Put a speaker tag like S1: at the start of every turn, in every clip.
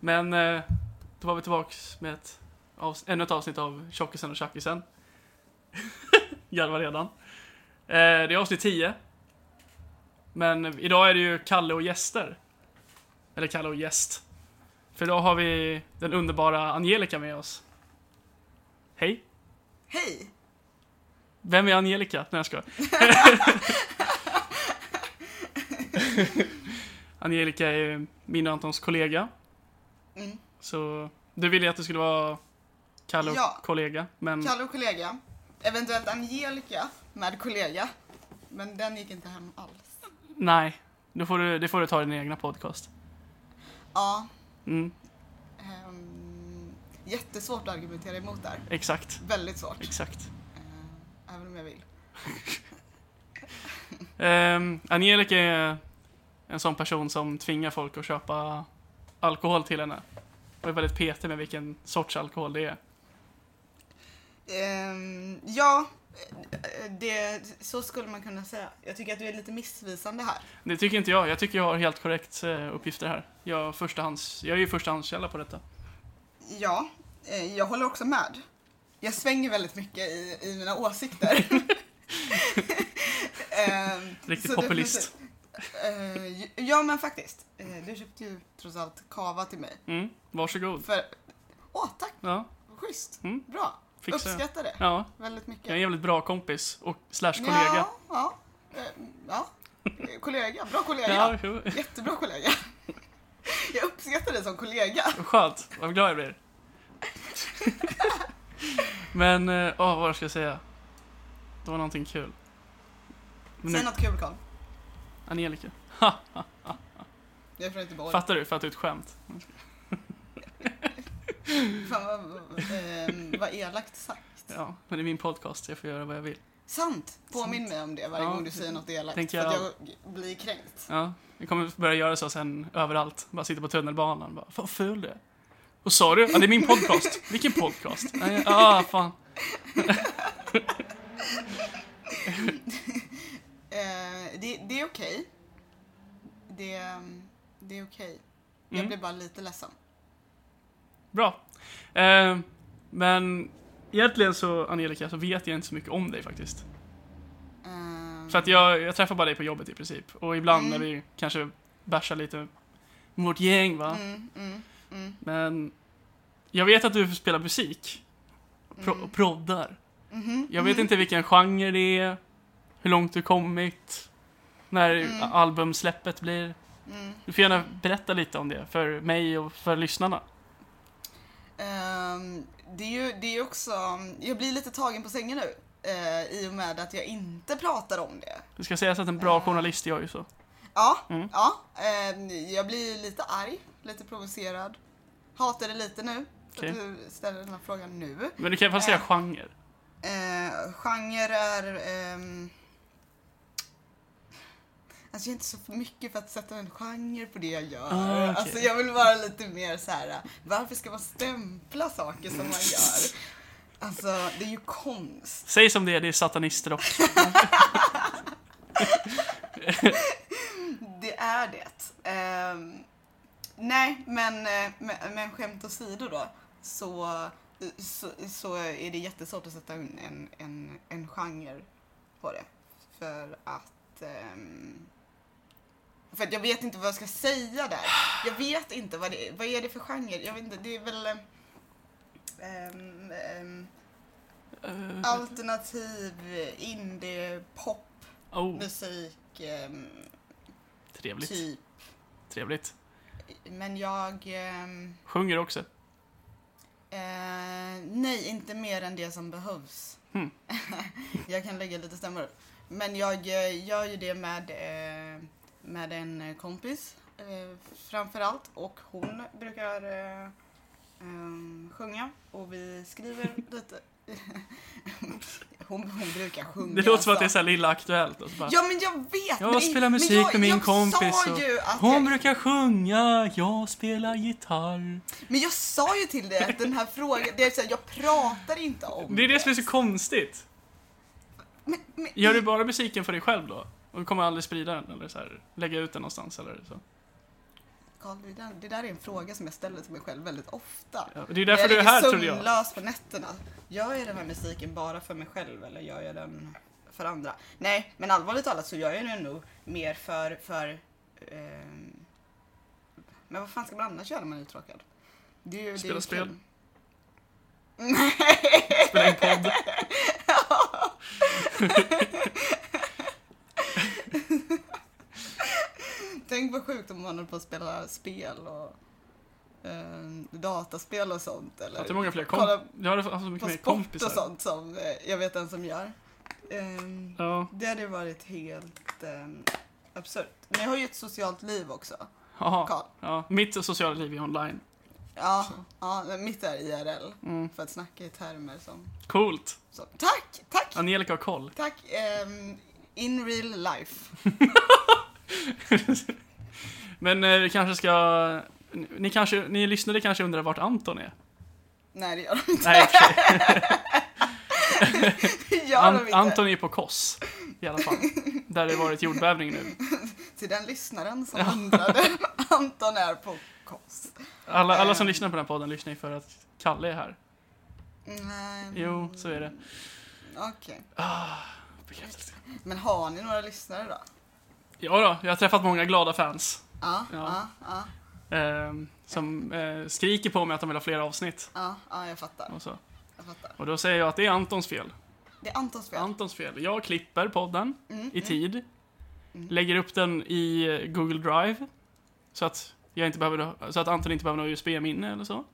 S1: Men eh, då var vi tillbaks med ett avs- ännu ett avsnitt av Tjockisen och Tjackisen. Garvar redan. Eh, det är avsnitt 10. Men idag är det ju Kalle och gäster. Eller Kalle och gäst. För idag har vi den underbara Angelica med oss. Hej!
S2: Hej!
S1: Vem är Angelica? Nej, jag skojar. Angelica är ju min och Antons kollega.
S2: Mm.
S1: Så du ville att det skulle vara Kalle och
S2: Ja.
S1: kollega, men
S2: Kalle och kollega. Eventuellt Angelica med kollega. Men den gick inte hem alls.
S1: nej. Då får du, det får du ta i din egna podcast.
S2: Ja,
S1: Mm,
S2: ehm, jättesvårt att argumentera emot där.
S1: exakt.
S2: Väldigt svårt.
S1: Exakt.
S2: Eh, även om jag vill.
S1: Um, Angelica är en sån person som tvingar folk att köpa alkohol till henne. Och är väldigt petig med vilken sorts alkohol det är.
S2: Ehm, ja, eh, det, så skulle man kunna säga. Jag tycker att du är lite missvisande här.
S1: Det tycker inte jag. Jag tycker jag har helt korrekt eh, uppgifter här. Jag, förstahands, jag är ju förstahandskälla på detta.
S2: Ja, eh, jag håller också med. Jag svänger väldigt mycket i, i mina åsikter. Ehm,
S1: Riktigt
S2: så
S1: populist.
S2: definitivt- eh, ja men faktiskt. Eh, du köpte ju trots allt kava till mig.
S1: Mm, varsågod.
S2: För, åh tack,
S1: Ja,
S2: schysst,
S1: Mm.
S2: bra.
S1: fixa det.
S2: Uppskattar det
S1: Ja,
S2: väldigt mycket.
S1: jag är en jävligt bra kompis och slash kollega.
S2: Ja, ja. Eh, ja. Eh, kollega, bra kollega.
S1: Ja, jo.
S2: Jättebra kollega. jag uppskattar dig som kollega.
S1: Skönt, vad glad jag blir. Men, eh, åh, vad ska jag säga? Det var någonting kul. Men nu,
S2: Säg något kul Karl.
S1: Angelica.
S2: Jag är från Göteborg.
S1: Fattar du? Fattar du ett skämt?
S2: Fan vad, ehm, vad elakt sagt.
S1: Ja, men det är min podcast, jag får göra vad jag vill.
S2: Sant! Påminn mig om det varje
S1: Ja,
S2: gång du säger något elakt.
S1: tänker
S2: för att jag blir kränkt.
S1: Ja, vi kommer börja göra så sen överallt. Bara sitta på tunnelbanan bara, fan vad ful du är. Och sa du? Ja, det är min podcast. Vilken podcast? Nej, ah, fan.
S2: Eh, det, det är okej. Det, ehm, det är okej. Jag
S1: Mm.
S2: blir bara lite ledsen.
S1: Bra. Eh, men egentligen så, Angelica, så vet jag inte så mycket om dig faktiskt.
S2: Ehm,
S1: För att jag, jag träffar bara dig på jobbet i princip. Och ibland
S2: Mm.
S1: när vi kanske bärsar lite med vårt gäng va.
S2: mm, mm, mm,
S1: Men jag vet att du spelar musik. Pro-
S2: Mm.
S1: Proddar.
S2: mhm,
S1: Jag vet
S2: mhm.
S1: inte vilken genre det är, hur långt du kommit, när
S2: Mm.
S1: albumsläppet blir.
S2: Mm.
S1: Du får gärna berätta lite om det för mig och för lyssnarna.
S2: Ehm, det är ju det är ju också, jag blir lite tagen på sängen nu. eh, I och med att jag inte pratar om det.
S1: Det ska sägas att en
S2: Mm.
S1: bra journalist gör ju så.
S2: Ja,
S1: Mm.
S2: ja. ehm, jag blir lite arg, lite provocerad. Hatar det lite nu. för Att du ställer den här frågan nu.
S1: Men du kan i alla fall säga
S2: Äh.
S1: genre.
S2: Eh, genre är... ehm, Alltså jag är inte så mycket för att sätta en genre på det jag gör.
S1: Ah, okej.
S2: Alltså jag vill vara lite mer så här. varför ska man stämpla saker som man gör? Alltså det är ju konst.
S1: Säg som det är, det är satanister också.
S2: Det är det. Ehm, nej, men, eh, men, men skämt åsido då. Så, så, så är det jättesvårt att sätta en, en, en, en genre på det. För att... ehm, för att jag vet inte vad jag ska säga där. Jag vet inte vad det är. Vad är det för genre? Jag vet inte, det är väl... eh, ehm, ehm,
S1: Eh,
S2: alternativ, indie, pop,
S1: oh,
S2: musik, ehm,
S1: trevligt.
S2: typ.
S1: Trevligt.
S2: Men jag... ehm,
S1: Sjunger också.
S2: Eh, nej, inte mer än det som behövs.
S1: Hmm.
S2: jag kan lägga lite stämmor. Men jag eh, gör ju det med, eh, med en kompis eh, framförallt och hon brukar eh, ehm, sjunga och vi skriver lite. hon, hon brukar sjunga.
S1: Det låter som att det är
S2: alltså.
S1: så här lilla Aktuellt. Och så bara,
S2: Ja men jag vet!
S1: Jag
S2: men-
S1: spelar
S2: men
S1: musik
S2: jag-
S1: med min
S2: jag
S1: kompis
S2: Sa
S1: och
S2: ju att
S1: Hon
S2: jag,
S1: brukar sjunga, jag spelar gitarr.
S2: men jag sa ju till dig att den här frågan, det är så här, jag pratar inte om
S1: Det är det som är så konstigt.
S2: Men, men,
S1: Gör du bara musiken för dig själv då? Och du kommer aldrig sprida den eller så här, lägga ut den någonstans eller så?
S2: Carl, det där, det där är en fråga som jag ställer till mig själv väldigt ofta.
S1: Ja, det är därför du är
S2: ligger
S1: här tror jag.
S2: sömnlös på nätterna. Gör jag den här musiken bara för mig själv eller gör jag den för andra? Nej, men allvarligt talat så gör jag den nog mer för... för ehm, Men vad fan ska man annars göra när man är uttråkad? Det är ju- det är
S1: Spela
S2: ju
S1: spel.
S2: kul.
S1: Spela in podd.
S2: Tänk vad sjukt om man håller på att spela spel och ehm, dataspel och sånt. Eller?
S1: Att det är många fler
S2: Kolla
S1: komp- Jag hade haft så mycket
S2: på
S1: mer
S2: sport och
S1: kompisar.
S2: sånt som eh, jag vet en som gör. Ehm,
S1: Ja.
S2: Det hade ju varit helt ehm, absurt. Men jag har ju ett socialt liv också,
S1: Jaha.
S2: Karl.
S1: Ja. Mitt sociala liv är online.
S2: Ja, ja, men mitt är IRL.
S1: Mm.
S2: För att snacka i termer som...
S1: Coolt.
S2: Så. Tack, tack,
S1: Angelica har koll.
S2: tack! ehm, in real life.
S1: Men eh, vi kanske ska... Ni, kanske, ni lyssnare kanske undrar vart Anton är?
S2: Nej, det gör de inte.
S1: Nej, i och för sig.
S2: Det gör de
S1: An-
S2: inte.
S1: Anton är på Kos i alla fall. Där det varit jordbävning nu.
S2: Till den lyssnaren som undrade. Anton är på KOS.
S1: Alla, alla som
S2: Ehm.
S1: lyssnar på den här podden lyssnar ju för att Kalle är här.
S2: Nej.
S1: Jo, så är det.
S2: Mm, Okej.
S1: Bekräftelse.
S2: Men har ni några lyssnare då?
S1: Ja då, jag har träffat många glada fans.
S2: Ja,
S1: Ja.
S2: ja, ja,
S1: Eh, som eh, skriker på mig att de vill ha fler avsnitt.
S2: ja, ja, jag fattar.
S1: Och, så.
S2: Jag fattar.
S1: och då säger jag att det är Antons fel.
S2: Det är Antons fel.
S1: Antons fel. Jag klipper podden
S2: Mm,
S1: i
S2: mm.
S1: tid.
S2: Mm.
S1: Lägger upp den i eh, Google Drive. Så att, jag inte behöver, så att Anton inte behöver något USB-minne eller så.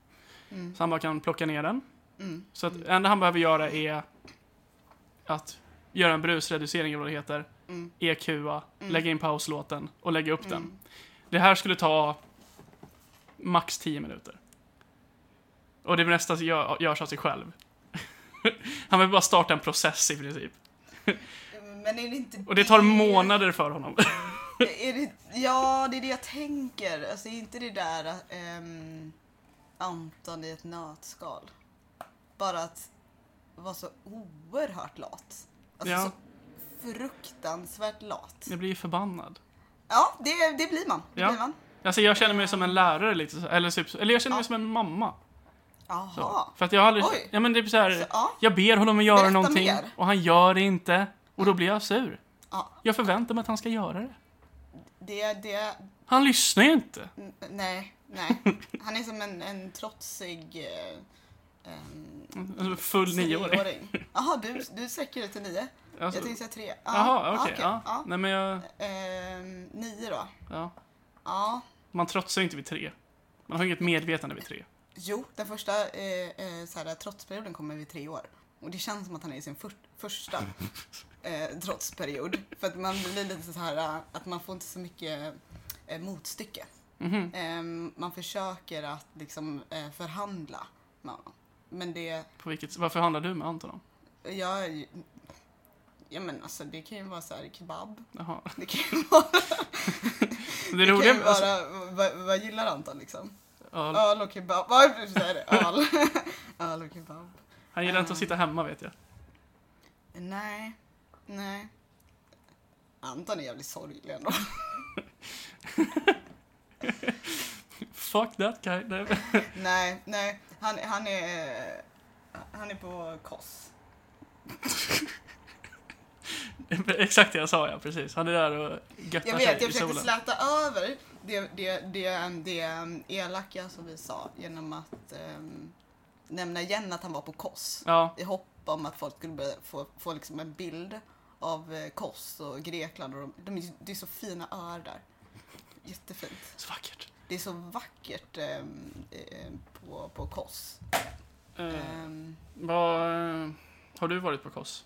S2: Mm.
S1: Så han bara kan plocka ner den.
S2: Mm.
S1: Så att det enda han behöver göra är att göra en brusreducering eller vad det heter.
S2: Mm.
S1: EQa, lägga in pauslåten och lägga upp den.
S2: Mm.
S1: Det här skulle ta max 10 minuter. Och det mesta gör, görs av sig själv. han vill bara starta en process i princip.
S2: mm. Men är det inte
S1: Och det tar månader för honom.
S2: Är det, ja, det är det jag tänker. Alltså, är inte det där ehm, Anton i ett nötskal? Bara att vara så oerhört lat. Alltså
S1: Ja.
S2: så fruktansvärt lat.
S1: jag blir förbannad.
S2: Ja, det, det blir man. Det
S1: Ja.
S2: blir man.
S1: Alltså jag känner mig som en lärare lite så- eller, typ, eller jag känner mig som en mamma. Så.
S2: Jaha.
S1: För att jag har aldrig...
S2: Oj.
S1: Ja men det är så här,
S2: Så, ja.
S1: Jag ber honom att göra
S2: Berätta
S1: någonting
S2: mer.
S1: och han gör det inte. Och då blir jag sur.
S2: Ja.
S1: Jag förväntar mig att han ska göra det.
S2: Det, det,
S1: Han lyssnar ju inte.
S2: n- nej, nej. Han är som en, en trotsig... eh, ehm,
S1: Alltså, full nioåring.
S2: tioåring. Jaha, du, du sträcker dig till nio?
S1: Alltså,
S2: Jag tänkte säga tre. Ja,
S1: Jaha, okej. ja.
S2: ja.
S1: Nej men jag...
S2: Ehm, nio då.
S1: Ja.
S2: Ja.
S1: Man trotsar ju inte vid tre. Man har ju inget medvetande vid tre.
S2: Jo, den första eh, eh, så här, trotsperioden kommer vid tre år. Och det känns som att han är i sin för- första eh, trotsperiod. För att man blir lite så här eh, att man får inte så mycket eh, motstycke.
S1: Mhm.
S2: Ehm, man försöker att liksom eh, förhandla med honom. Men det,
S1: På vilket... Varför handlar du med Anton om?
S2: jag, ja men alltså det kan ju vara så här kebab.
S1: Jaha.
S2: Det kan ju vara,
S1: Det
S2: det
S1: roliga...
S2: kan ju vara
S1: alltså,
S2: vad, vad gillar Anton liksom?
S1: ja,
S2: Öl och kebab. Varför säger det? Öl. Öl och kebab.
S1: han gillar inte att sitta hemma vet jag.
S2: Nej. Nej. Anton är jävligt sorglig ändå.
S1: Fuck that guy. Nej, men-
S2: nej, nej. Han, han är... Han är på KOS.
S1: Exakt det jag sa ja, precis. Han är där och
S2: Jag
S1: göttar
S2: vet,
S1: sig
S2: jag
S1: i
S2: försökte
S1: solen.
S2: släta över det, det, det, det elaka som vi sa genom att ehm, nämna igen att han var på KOS.
S1: Ja,
S2: I hopp om att folk skulle börja få, få liksom en bild av eh, Kos och Grekland. Och de, de, är ju- det är så fina öar där. Jättefint.
S1: så vackert.
S2: Det är så vackert ehm, eh, på, på Kos.
S1: Eh,
S2: Ehm,
S1: Vad... eh, Har du varit på Kos?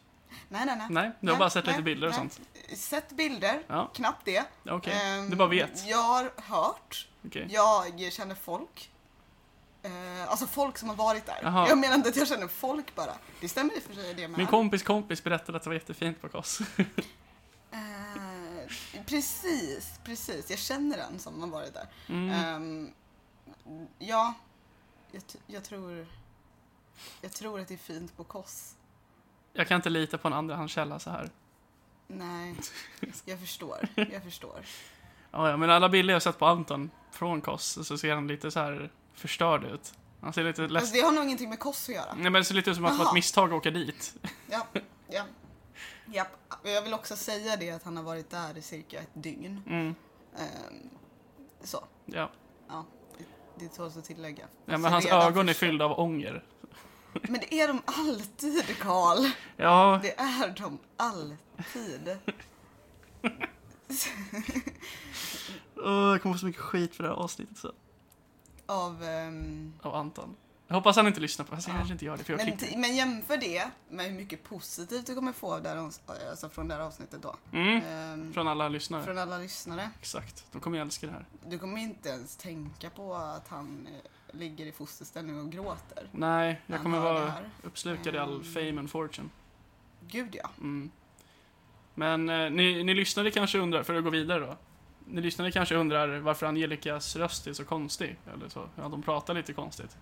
S2: nej, nej, nej.
S1: Nej, du har
S2: Nej,
S1: bara sett
S2: nej,
S1: lite bilder och
S2: nej.
S1: sånt.
S2: Sett bilder,
S1: Ja.
S2: knappt det.
S1: Okej,
S2: Ehm,
S1: du bara vet.
S2: Jag har hört,
S1: Okej.
S2: jag känner folk. Eh, alltså folk som har varit där.
S1: Jaha.
S2: Jag menar inte att jag känner folk bara. Det stämmer i och för sig det med.
S1: Min kompis kompis berättade att det var jättefint på Kos.
S2: Eh, precis, precis. Jag känner en som har varit där.
S1: Mm.
S2: Ehm, ja, jag, t- jag tror... Jag tror att det är fint på Kos.
S1: Jag kan inte lita på en andrahandskälla så här.
S2: Nej, jag förstår. Jag förstår.
S1: Ja, ja, men alla bilder jag sett på Anton från Koss så ser han lite så här förstörd ut. Han ser lite ledsen
S2: Alltså, det har nog ingenting med kost att göra.
S1: Nej men det ser lite ut som att det var ett
S2: Jaha.
S1: misstag att åka dit.
S2: Ja, ja. Japp. Jag vill också säga det att han har varit där i cirka ett dygn.
S1: Mm,
S2: Ehm, så,
S1: ja.
S2: ja. Det- Det tål att tillägga.
S1: ja men
S2: Så
S1: hans
S2: redan
S1: ögon är
S2: första-
S1: fyllda av ånger.
S2: Men det är de alltid, Karl.
S1: Ja,
S2: Det är de alltid.
S1: åh, jag kommer få så mycket skit för det här avsnittet sen.
S2: Av... ehm,
S1: Av Anton. Jag hoppas han inte lyssnar på det, här, så jag
S2: Ja.
S1: kanske inte gör det för jag
S2: men,
S1: klipper.
S2: t- men jämför det med hur mycket positivt du kommer få av det här, avs- alltså från det här avsnittet då.
S1: Mm,
S2: Ehm,
S1: från alla lyssnare.
S2: från alla lyssnare.
S1: Exakt, de kommer ju älska det här.
S2: Du kommer inte ens tänka på att han eh, ligger i fosterställning och gråter.
S1: Nej, jag
S2: Han
S1: kommer
S2: hör det
S1: vara
S2: här.
S1: uppslukad i all
S2: Mm.
S1: fame and fortune.
S2: Gud ja.
S1: Mm. Men eh, ni, ni lyssnade kanske undrar, för att gå vidare då. Ni lyssnade kanske undrar varför Angelicas röst är så konstig. Eller så, ja, de pratar lite konstigt.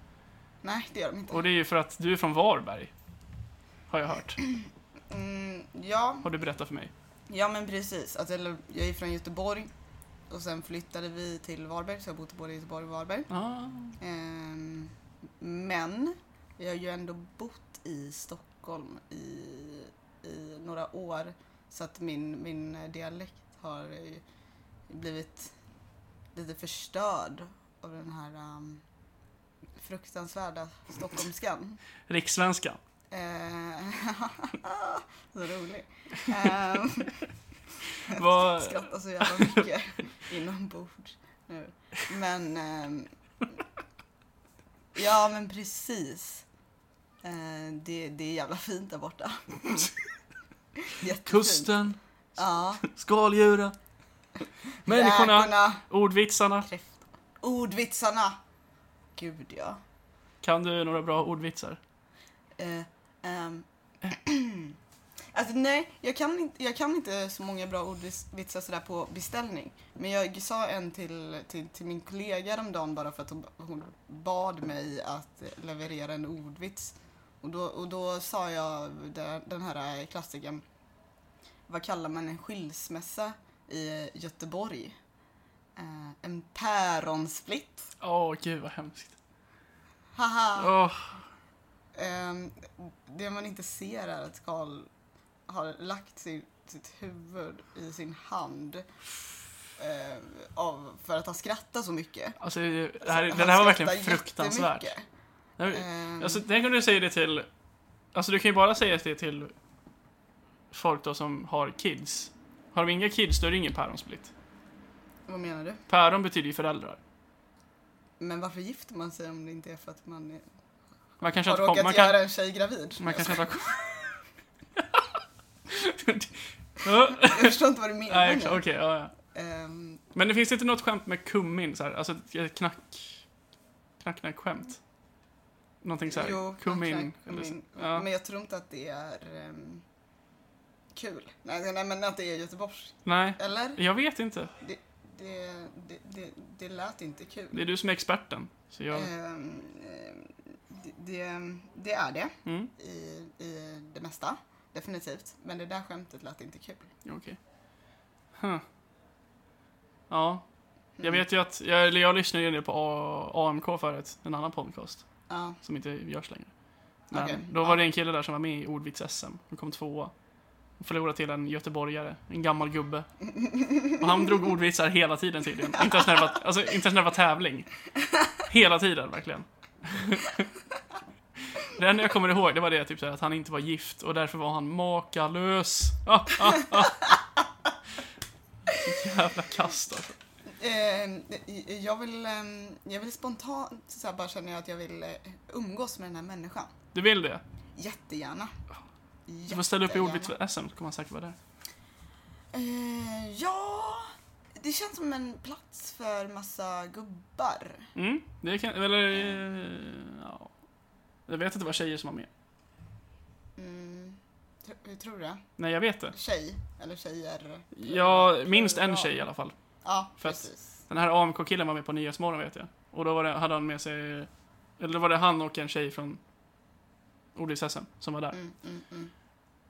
S2: Nej, det gör de inte.
S1: Och det är ju för att du är från Varberg. Har jag hört.
S2: Mm, ja,
S1: Har du berättat för mig.
S2: ja men precis. Alltså, eller, jag är från Göteborg och sen flyttade vi till Varberg så jag har bott både i Göteborg och Varberg.
S1: Ah,
S2: Ehm, men jag har ju ändå bott i Stockholm i, i några år så att min, min dialekt har ju blivit lite förstörd av den här ehm, fruktansvärda stockholmskan.
S1: rikssvenskan.
S2: Ehm, så rolig. Ehm,
S1: Vad...
S2: skrattar så jävla mycket inombords nu. Men... ehm, ja, men precis. Eh, det, det är jävla fint där borta. Jättefint.
S1: Kusten,
S2: Ja.
S1: skaldjuren, människorna,
S2: Räkorna.
S1: ordvitsarna.
S2: Kräft. Ordvitsarna. Gud, ja.
S1: Kan du några bra ordvitsar?
S2: Eh, ehm. alltså nej, jag kan, inte, jag kan inte så många bra ordvitsar sådär på beställning. Men jag sa en till, till, till min kollega häromdagen bara för att hon, hon bad mig att leverera en ordvits. Och då, och då sa jag den, den här klassikern. Vad kallar man en skilsmässa i Göteborg? Eh, en päronsplitt.
S1: Åh, gud vad hemskt.
S2: Haha!
S1: Åh,
S2: Ehm, det man inte ser är att Karl har lagt sitt, sitt huvud i sin hand ehm, av, för att han skrattar så mycket.
S1: alltså, det här,
S2: Han
S1: den här var verkligen
S2: skrattar
S1: fruktansvärt.
S2: jättemycket.
S1: Nej,
S2: Ehm,
S1: Alltså, tänk om du säger det till... Alltså, du kan ju bara säga det till folk då som har kids. Har de inga kids, då är det ingen päronsplitt.
S2: Vad menar du?
S1: Päron betyder ju föräldrar.
S2: Men varför gifter man sig om det inte är för att man är,
S1: Man kanske
S2: har
S1: inte kom,
S2: råkat
S1: man kan,
S2: göra en tjej gravid?
S1: man kanske inte har kom-
S2: Jag förstår inte vad du menar.
S1: Nej,
S2: nu.
S1: okej, ja, ja.
S2: Ehm,
S1: Men det finns inte något skämt med kummin så här. Alltså ett knack... Knack-knack-skämt. Någonting så här.
S2: jo,
S1: kummin.
S2: kanske,
S1: eller så-
S2: kummin.
S1: Ja.
S2: Men jag tror inte att det är ehm, kul. Nej, nej, men att det är Göteborgs.
S1: Nej,
S2: Eller?
S1: jag vet inte.
S2: Det, det, det, det lät inte kul.
S1: Det är du som är experten. Så jag...
S2: Ehm, ehm, det, det, det är det
S1: Mm,
S2: i, i det mesta, definitivt. Men det där skämtet lät inte kul.
S1: okej. Huh. Ja, jag
S2: Mm.
S1: vet ju att... Jag, eller jag lyssnade ju en del på A- AMK förut. En annan podcast.
S2: Ja,
S1: Som inte görs längre. Men
S2: Okej,
S1: då
S2: ja.
S1: var det en kille där som var med i ordvits-SM. Han kom tvåa. Han förlorade till en göteborgare, en gammal gubbe. Och han drog ordvitsar hela tiden tydligen. Inte ens när det var, alltså, inte ens när det var tävling. Hela tiden, verkligen. Det enda jag kommer ihåg, det var det typ så här, att han inte var gift och därför var han makalös. Ah, ah, ah. Jävla kast alltså.
S2: Ehm, jag vill, ehm, jag vill spontant så här, bara känner jag att jag vill eh, umgås med den här människan.
S1: Du vill det?
S2: Jättegärna.
S1: Du får ställa upp i
S2: Jättegärna.
S1: ordvits-SM så kommer han säkert vara där.
S2: Ehm, ja, det känns som en plats för massa gubbar.
S1: Mm, det kan... Eller... eh, Ja. Jag vet att det var tjejer som var med.
S2: Mm, tr- hur tror du det?
S1: Nej, jag vet det.
S2: Tjej, eller tjejer.
S1: Ja, minst en
S2: Bra.
S1: tjej i alla fall.
S2: Ja,
S1: För att-
S2: precis.
S1: Den här AMK-killen var med på Nyhetsmorgon vet jag. Och då var det, hade han med sig... Eller då var det han och en tjej från ordvits som var där.
S2: Mm, mm, mm,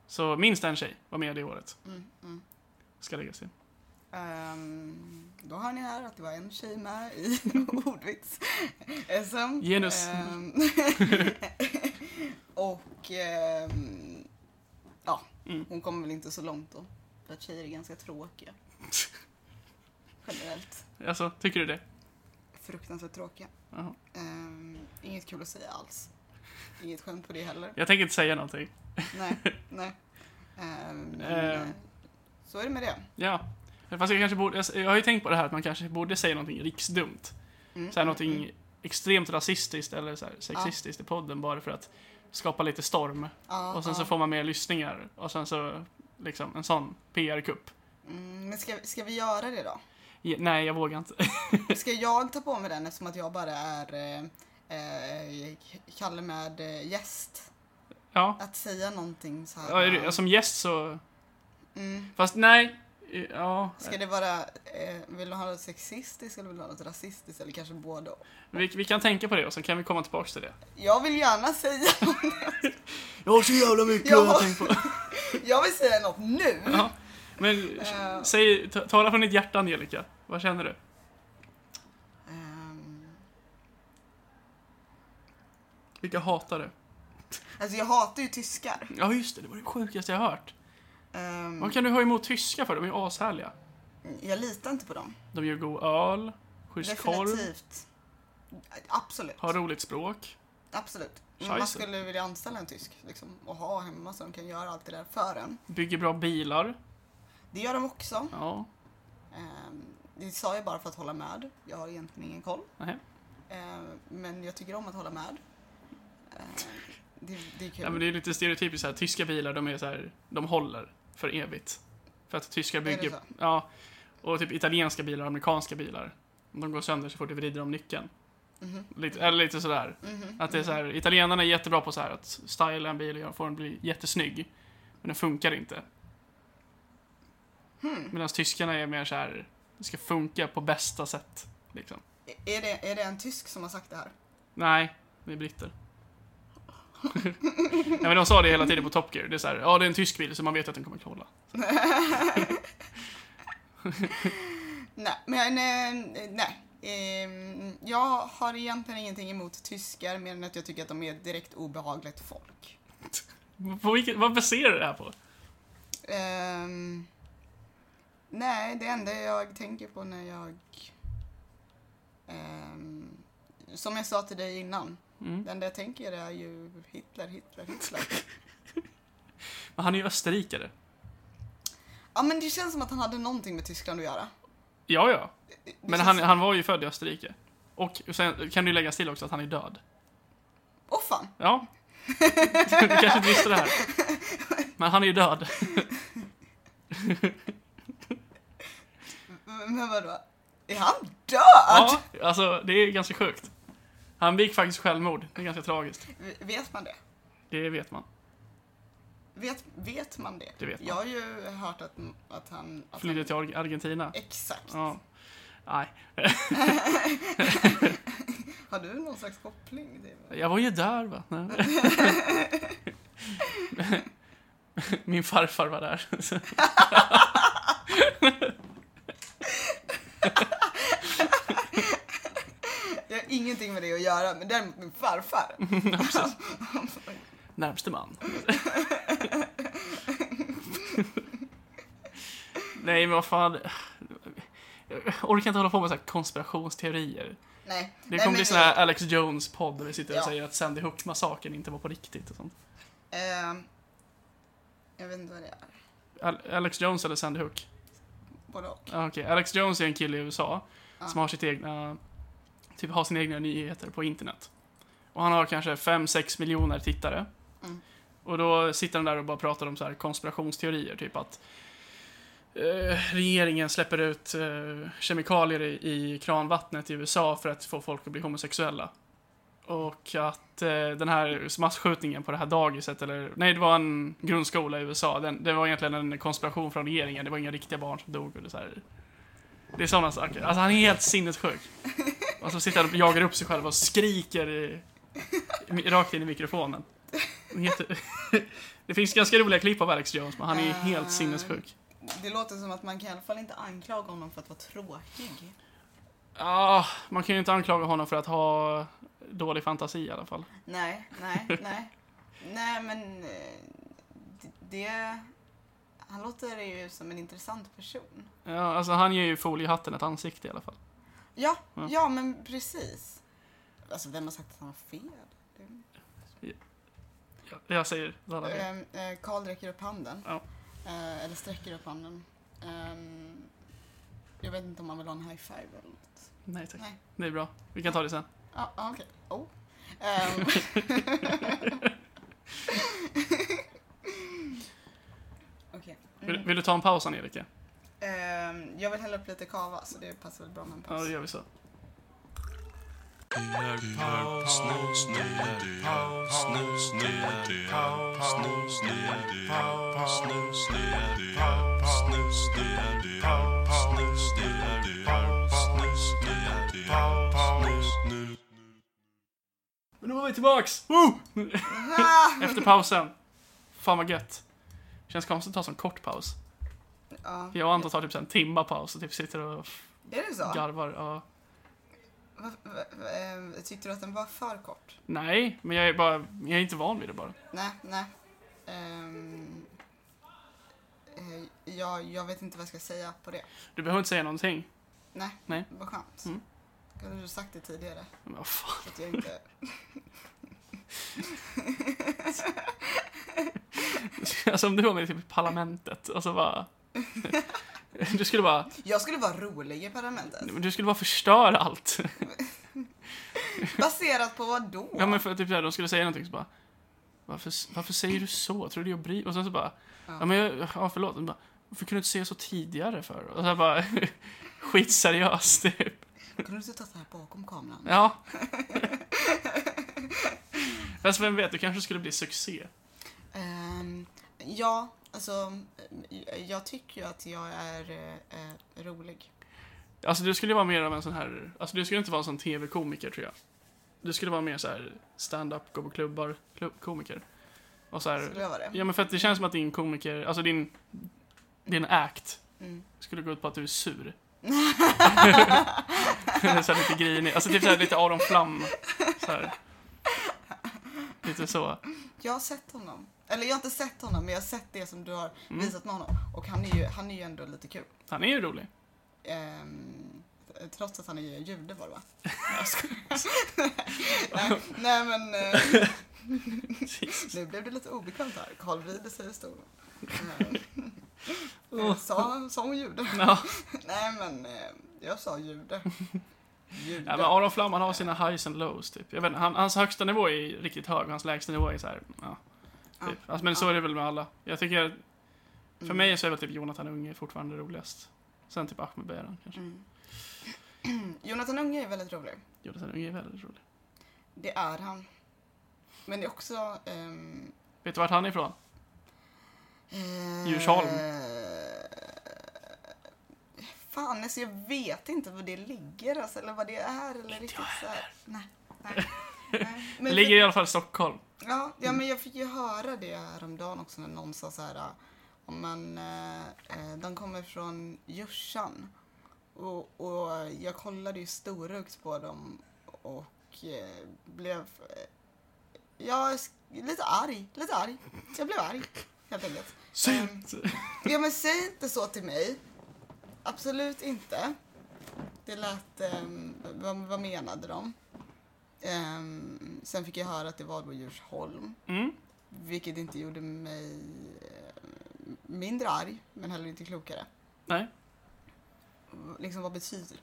S1: Så minst en tjej var med det året,
S2: mm, mm.
S1: ska läggas till.
S2: Ehm, då har ni här att det var en tjej med i Ehm, ordvits-SM.
S1: Genus.
S2: och ehm, ja,
S1: Mm.
S2: hon kommer väl inte så långt då. För att tjejer är ganska tråkiga. Generellt.
S1: Alltså, tycker du det?
S2: Fruktansvärt tråkiga.
S1: Jaha.
S2: Ehm, inget kul att säga alls. Inget skämt på det heller.
S1: Jag tänker inte säga någonting.
S2: nej, nej. Ehm, men,
S1: Ehm.
S2: eh, så är det med det.
S1: Ja. Fast jag kanske borde, jag, jag har ju tänkt på det här att man kanske borde säga någonting riksdumt.
S2: Mm,
S1: Såhär
S2: mm,
S1: någonting
S2: mm.
S1: extremt rasistiskt eller såhär sexistiskt i podden bara för att skapa lite storm.
S2: Ja,
S1: Och sen så
S2: ja.
S1: får man mer lyssningar. Och sen så, liksom, en sån PR-kupp.
S2: Mm, men ska, ska vi göra det då?
S1: Ja, Nej, jag vågar inte.
S2: Ska jag ta på mig den eftersom att jag bara är eh, eh, Kalle med eh, gäst?
S1: Ja.
S2: Att säga någonting så här.
S1: Ja, är alltså- du- Som gäst så...
S2: mm.
S1: Fast nej. Ja.
S2: Ska det vara, eh, vill du ha något sexistiskt eller vill du ha något rasistiskt eller kanske både och?
S1: Vi, vi kan tänka på det och sen kan vi komma tillbaks till det.
S2: Jag vill gärna säga,
S1: Jag har så jävla mycket
S2: Ja.
S1: tänkt på.
S2: jag vill säga något nu.
S1: Ja. Men
S2: Eh.
S1: säg, ta- tala från ditt hjärta Angelica. Vad känner du?
S2: Ehm,
S1: Vilka hatar du?
S2: alltså jag hatar ju tyskar.
S1: Ja just det, det var det sjukaste jag har hört.
S2: Ehm,
S1: Vad kan du ha emot tyskar för? De är ju ashärliga.
S2: Jag litar inte på dem.
S1: De gör god öl, schysst korv,
S2: Definitivt. Absolut.
S1: har roligt språk.
S2: Absolut. Men Man
S1: Scheisse.
S2: skulle vilja anställa en tysk liksom, och ha hemma så de kan göra allt det där för en.
S1: Bygger bra bilar.
S2: Det gör de också.
S1: Ja,
S2: Ehm, Det sa jag bara för att hålla med. Jag har egentligen ingen koll.
S1: nej.
S2: Ehm, Men jag tycker om att hålla med. Ehm, Det, det är kul.
S1: Ja, men det är lite stereotypiskt så här. Tyska bilar, de är så här, de håller för evigt. För att tyskar
S2: Är det
S1: bygger...
S2: så?
S1: Ja. Och typ italienska bilar, amerikanska bilar. De går sönder så fort du vrider om nyckeln.
S2: Mhm,
S1: Lite, eller lite sådär.
S2: mhm,
S1: Att det är så här, italienarna är jättebra på så här att styla en bil och göra- få den bli jättesnygg. Men den funkar inte.
S2: Mhm. Hmm.
S1: Medan tyskarna är mer så här, det ska funka på bästa sätt. Liksom.
S2: mhm. Är, det, är det en tysk som har sagt det här?
S1: Nej, vi är britter. ja, men de sa det hela tiden på Top Gear. Det är så här, ja det är en tysk bil så man vet att den kommer att hålla.
S2: Nej, men eh, nej. Ehm, Jag har egentligen ingenting emot tyskar mer än att jag tycker att de är ett direkt obehagligt folk.
S1: På vilket, vad baserar du det här på?
S2: Ehm, nej, det enda jag tänker på när jag... ehm, som jag sa till dig innan,
S1: Mm.
S2: det enda jag tänker är ju Hitler, Hitler, Hitler.
S1: Men han är ju österrikare.
S2: ja, men det känns som att han hade någonting med Tyskland att göra.
S1: Ja, ja.
S2: Det
S1: Men
S2: känns
S1: han,
S2: som-
S1: han var ju född i Österrike. Och sen kan du lägga till också att han är död.
S2: Åh fan!
S1: Ja. Du kanske inte visste det här. Men han är ju död.
S2: Men vadå? Är han död?
S1: Ja, alltså det är ganska sjukt. Han begick faktiskt självmord. Det är ganska tragiskt.
S2: V- Vet man det?
S1: Det vet man.
S2: Vet, vet man det?
S1: Det vet man.
S2: Jag har ju hört att, att han... Att
S1: Flydde
S2: han
S1: till Ar- Argentina.
S2: exakt.
S1: Ja. Nej.
S2: Har du någon slags koppling? till-
S1: Jag var ju där va? Nej. Min farfar var där.
S2: Jag har ingenting med det att göra, men däremot min farfar.
S1: Mhm. Närmste man. Nej men vad fan. Jag orkar inte hålla på med så här konspirationsteorier.
S2: Nej.
S1: Det
S2: Nej,
S1: kommer
S2: men-
S1: bli sån här Alex Jones-podd där vi sitter och
S2: Ja.
S1: säger att Sandy Hook-massakern inte var på riktigt och sånt.
S2: Ehm, jag vet inte vad det är.
S1: Al- Alex Jones eller Sandy Hook?
S2: Både och.
S1: Ja, Okej, Alex Jones är en kille i USA
S2: Ja.
S1: som har sitt egna, typ har sina egna nyheter på internet. Och han har kanske 5-6 miljoner tittare.
S2: Mm.
S1: Och då sitter han där och bara pratar om så här konspirationsteorier, typ att eh, regeringen släpper ut eh, kemikalier i, i kranvattnet i USA för att få folk att bli homosexuella. Och att eh, den här massskjutningen på det här dagiset, eller nej, det var en grundskola i USA. Den, det var egentligen en konspiration från regeringen. Det var inga riktiga barn som dog. Och det, så här. det är sådana saker. Alltså han är helt sinnessjuk. Och så sitter han och jagar upp sig själv och skriker i, i, rakt in i mikrofonen. Det heter- det finns ganska roliga klipp av Alex Jones, men han är helt sinnessjuk.
S2: det låter som att man kan i alla fall inte anklaga honom för att vara tråkig.
S1: Ah, man kan ju inte anklaga honom för att ha dålig fantasi i alla fall.
S2: Nej, nej, nej. nej, men eh, d- det... Han låter ju som en intressant person.
S1: Ja, alltså han ger ju foliehatten ett ansikte i alla fall.
S2: Ja,
S1: Ja.
S2: ja, men precis. Alltså, vem har sagt att han har fel? Det-
S1: Jag, jag säger det alla fel.
S2: Ehm, eh, Karl räcker upp handen.
S1: Ja.
S2: Eh, eller sträcker upp handen. Ehm, jag vet inte om han vill ha en high five eller något.
S1: Nej tack.
S2: Nej.
S1: Det är bra. Vi kan ta det sen.
S2: Ja, ah, okej. Oh. Ehm, Okej.
S1: Vill,
S2: Mm.
S1: vill du ta en paus Angelica?
S2: Ehm, jag vill hälla upp lite kava så det passar väl bra med en
S1: Ja,
S2: paus.
S1: då gör vi så. Men nu var vi tillbaks! Woo! Efter pausen. Fan vad gött. Känns konstigt att ta sån kort paus.
S2: Ja.
S1: Jag och Anton tar typ så här en timma paus och typ sitter och f-
S2: Är det så?
S1: garvar. Ja.
S2: Va- va- va- ehm, Tyckte du att den var för kort?
S1: Nej, men jag är bara, jag är inte van vid det bara.
S2: Nej, nej. Ehm, eh, jag, jag vet inte vad jag ska säga på det.
S1: Du behöver inte säga någonting.
S2: Nej,
S1: Nej.
S2: vad skönt.
S1: Mm.
S2: Kunde du sagt det tidigare?
S1: Men vad fan.
S2: Så att jag inte...
S1: Alltså om du var med typ i Parlamentet, alltså bara... Du skulle bara,
S2: Jag skulle vara rolig i parlamentet.
S1: du skulle bara förstöra allt.
S2: Baserat på vad då?
S1: Ja men för typ såhär, de skulle säga någonting så bara Varför, varför säger du så? Tror du jag bryr Och sen så bara Ja,
S2: Ja.
S1: men jag, ja förlåt Och bara, Varför kunde du inte säga så tidigare för? Och så här bara Skitseriöst typ
S2: Kunde du inte ta så här bakom kameran?
S1: Ja Fast vem vet, du kanske skulle bli succé
S2: Ehm, ja, alltså eh, jag tycker ju att jag är eh, eh, rolig.
S1: Alltså du skulle vara mer av en sån här Alltså du skulle inte vara en sån tv-komiker tror jag Du skulle vara mer så här stand-up, gå på klubbar, klubb, komiker Och så
S2: Skulle
S1: här
S2: jag vara det?
S1: Ja men för att det känns som att din komiker, alltså din Din act
S2: Mm.
S1: skulle gå ut på att du är sur. så här lite grinig, alltså typ så här lite Aron Flam. Så här. Lite så. Mm.
S2: Jag har sett honom. Eller jag har inte sett honom, men jag har sett det som du har
S1: Mm.
S2: visat med honom. Och han är ju, han är ju ändå lite kul.
S1: Han är ju rolig.
S2: Ehm, trots att han är jude var det va? Jag skojar. nej, nej men, eh, nu blev det lite obekvämt här. Carl vrider sig i stolen. Ehm, eh, sa, sa hon jude?
S1: Ja.
S2: nej men, eh, jag sa jude. Jude.
S1: Ja, men Aron Flam han har sina highs and lows typ. Jag vet inte, han, hans högsta nivå är riktigt hög och hans lägsta nivå är så här, ja. Typ. Alltså, men så är det väl med alla. Jag tycker, för
S2: Mm.
S1: mig så är väl typ Jonathan Unge fortfarande roligast. Sen typ Ahmed Bayram kanske.
S2: Mm. Jonathan Unge är väldigt rolig.
S1: Jonathan Unge är väldigt rolig.
S2: Det är han. Men det är också... ehm,
S1: Vet du vart han är ifrån?
S2: eh,
S1: Djursholm.
S2: Fan, alltså jag vet inte var det ligger alltså, eller vad det är. Eller riktigt så här. Nej, nej. nej.
S1: Det ligger i alla fall i Stockholm.
S2: Ja, ja, men jag fick ju höra det häromdagen också när någon sa så här ah, om man, eh, eh, de kommer från Jörsan. Och, och jag kollade ju storögt på dem och eh, blev, eh, jag är sk- lite arg, lite arg. Jag blev arg, helt enkelt.
S1: Säg
S2: Ehm,
S1: inte-
S2: Ja men säg inte så till mig. Absolut inte. Det lät, ehm, vad, vad menade de? Ehm, sen fick jag höra att det var då Djursholm.
S1: Mm.
S2: Vilket inte gjorde mig eh, mindre arg, men heller inte klokare.
S1: Nej.
S2: Liksom vad betyder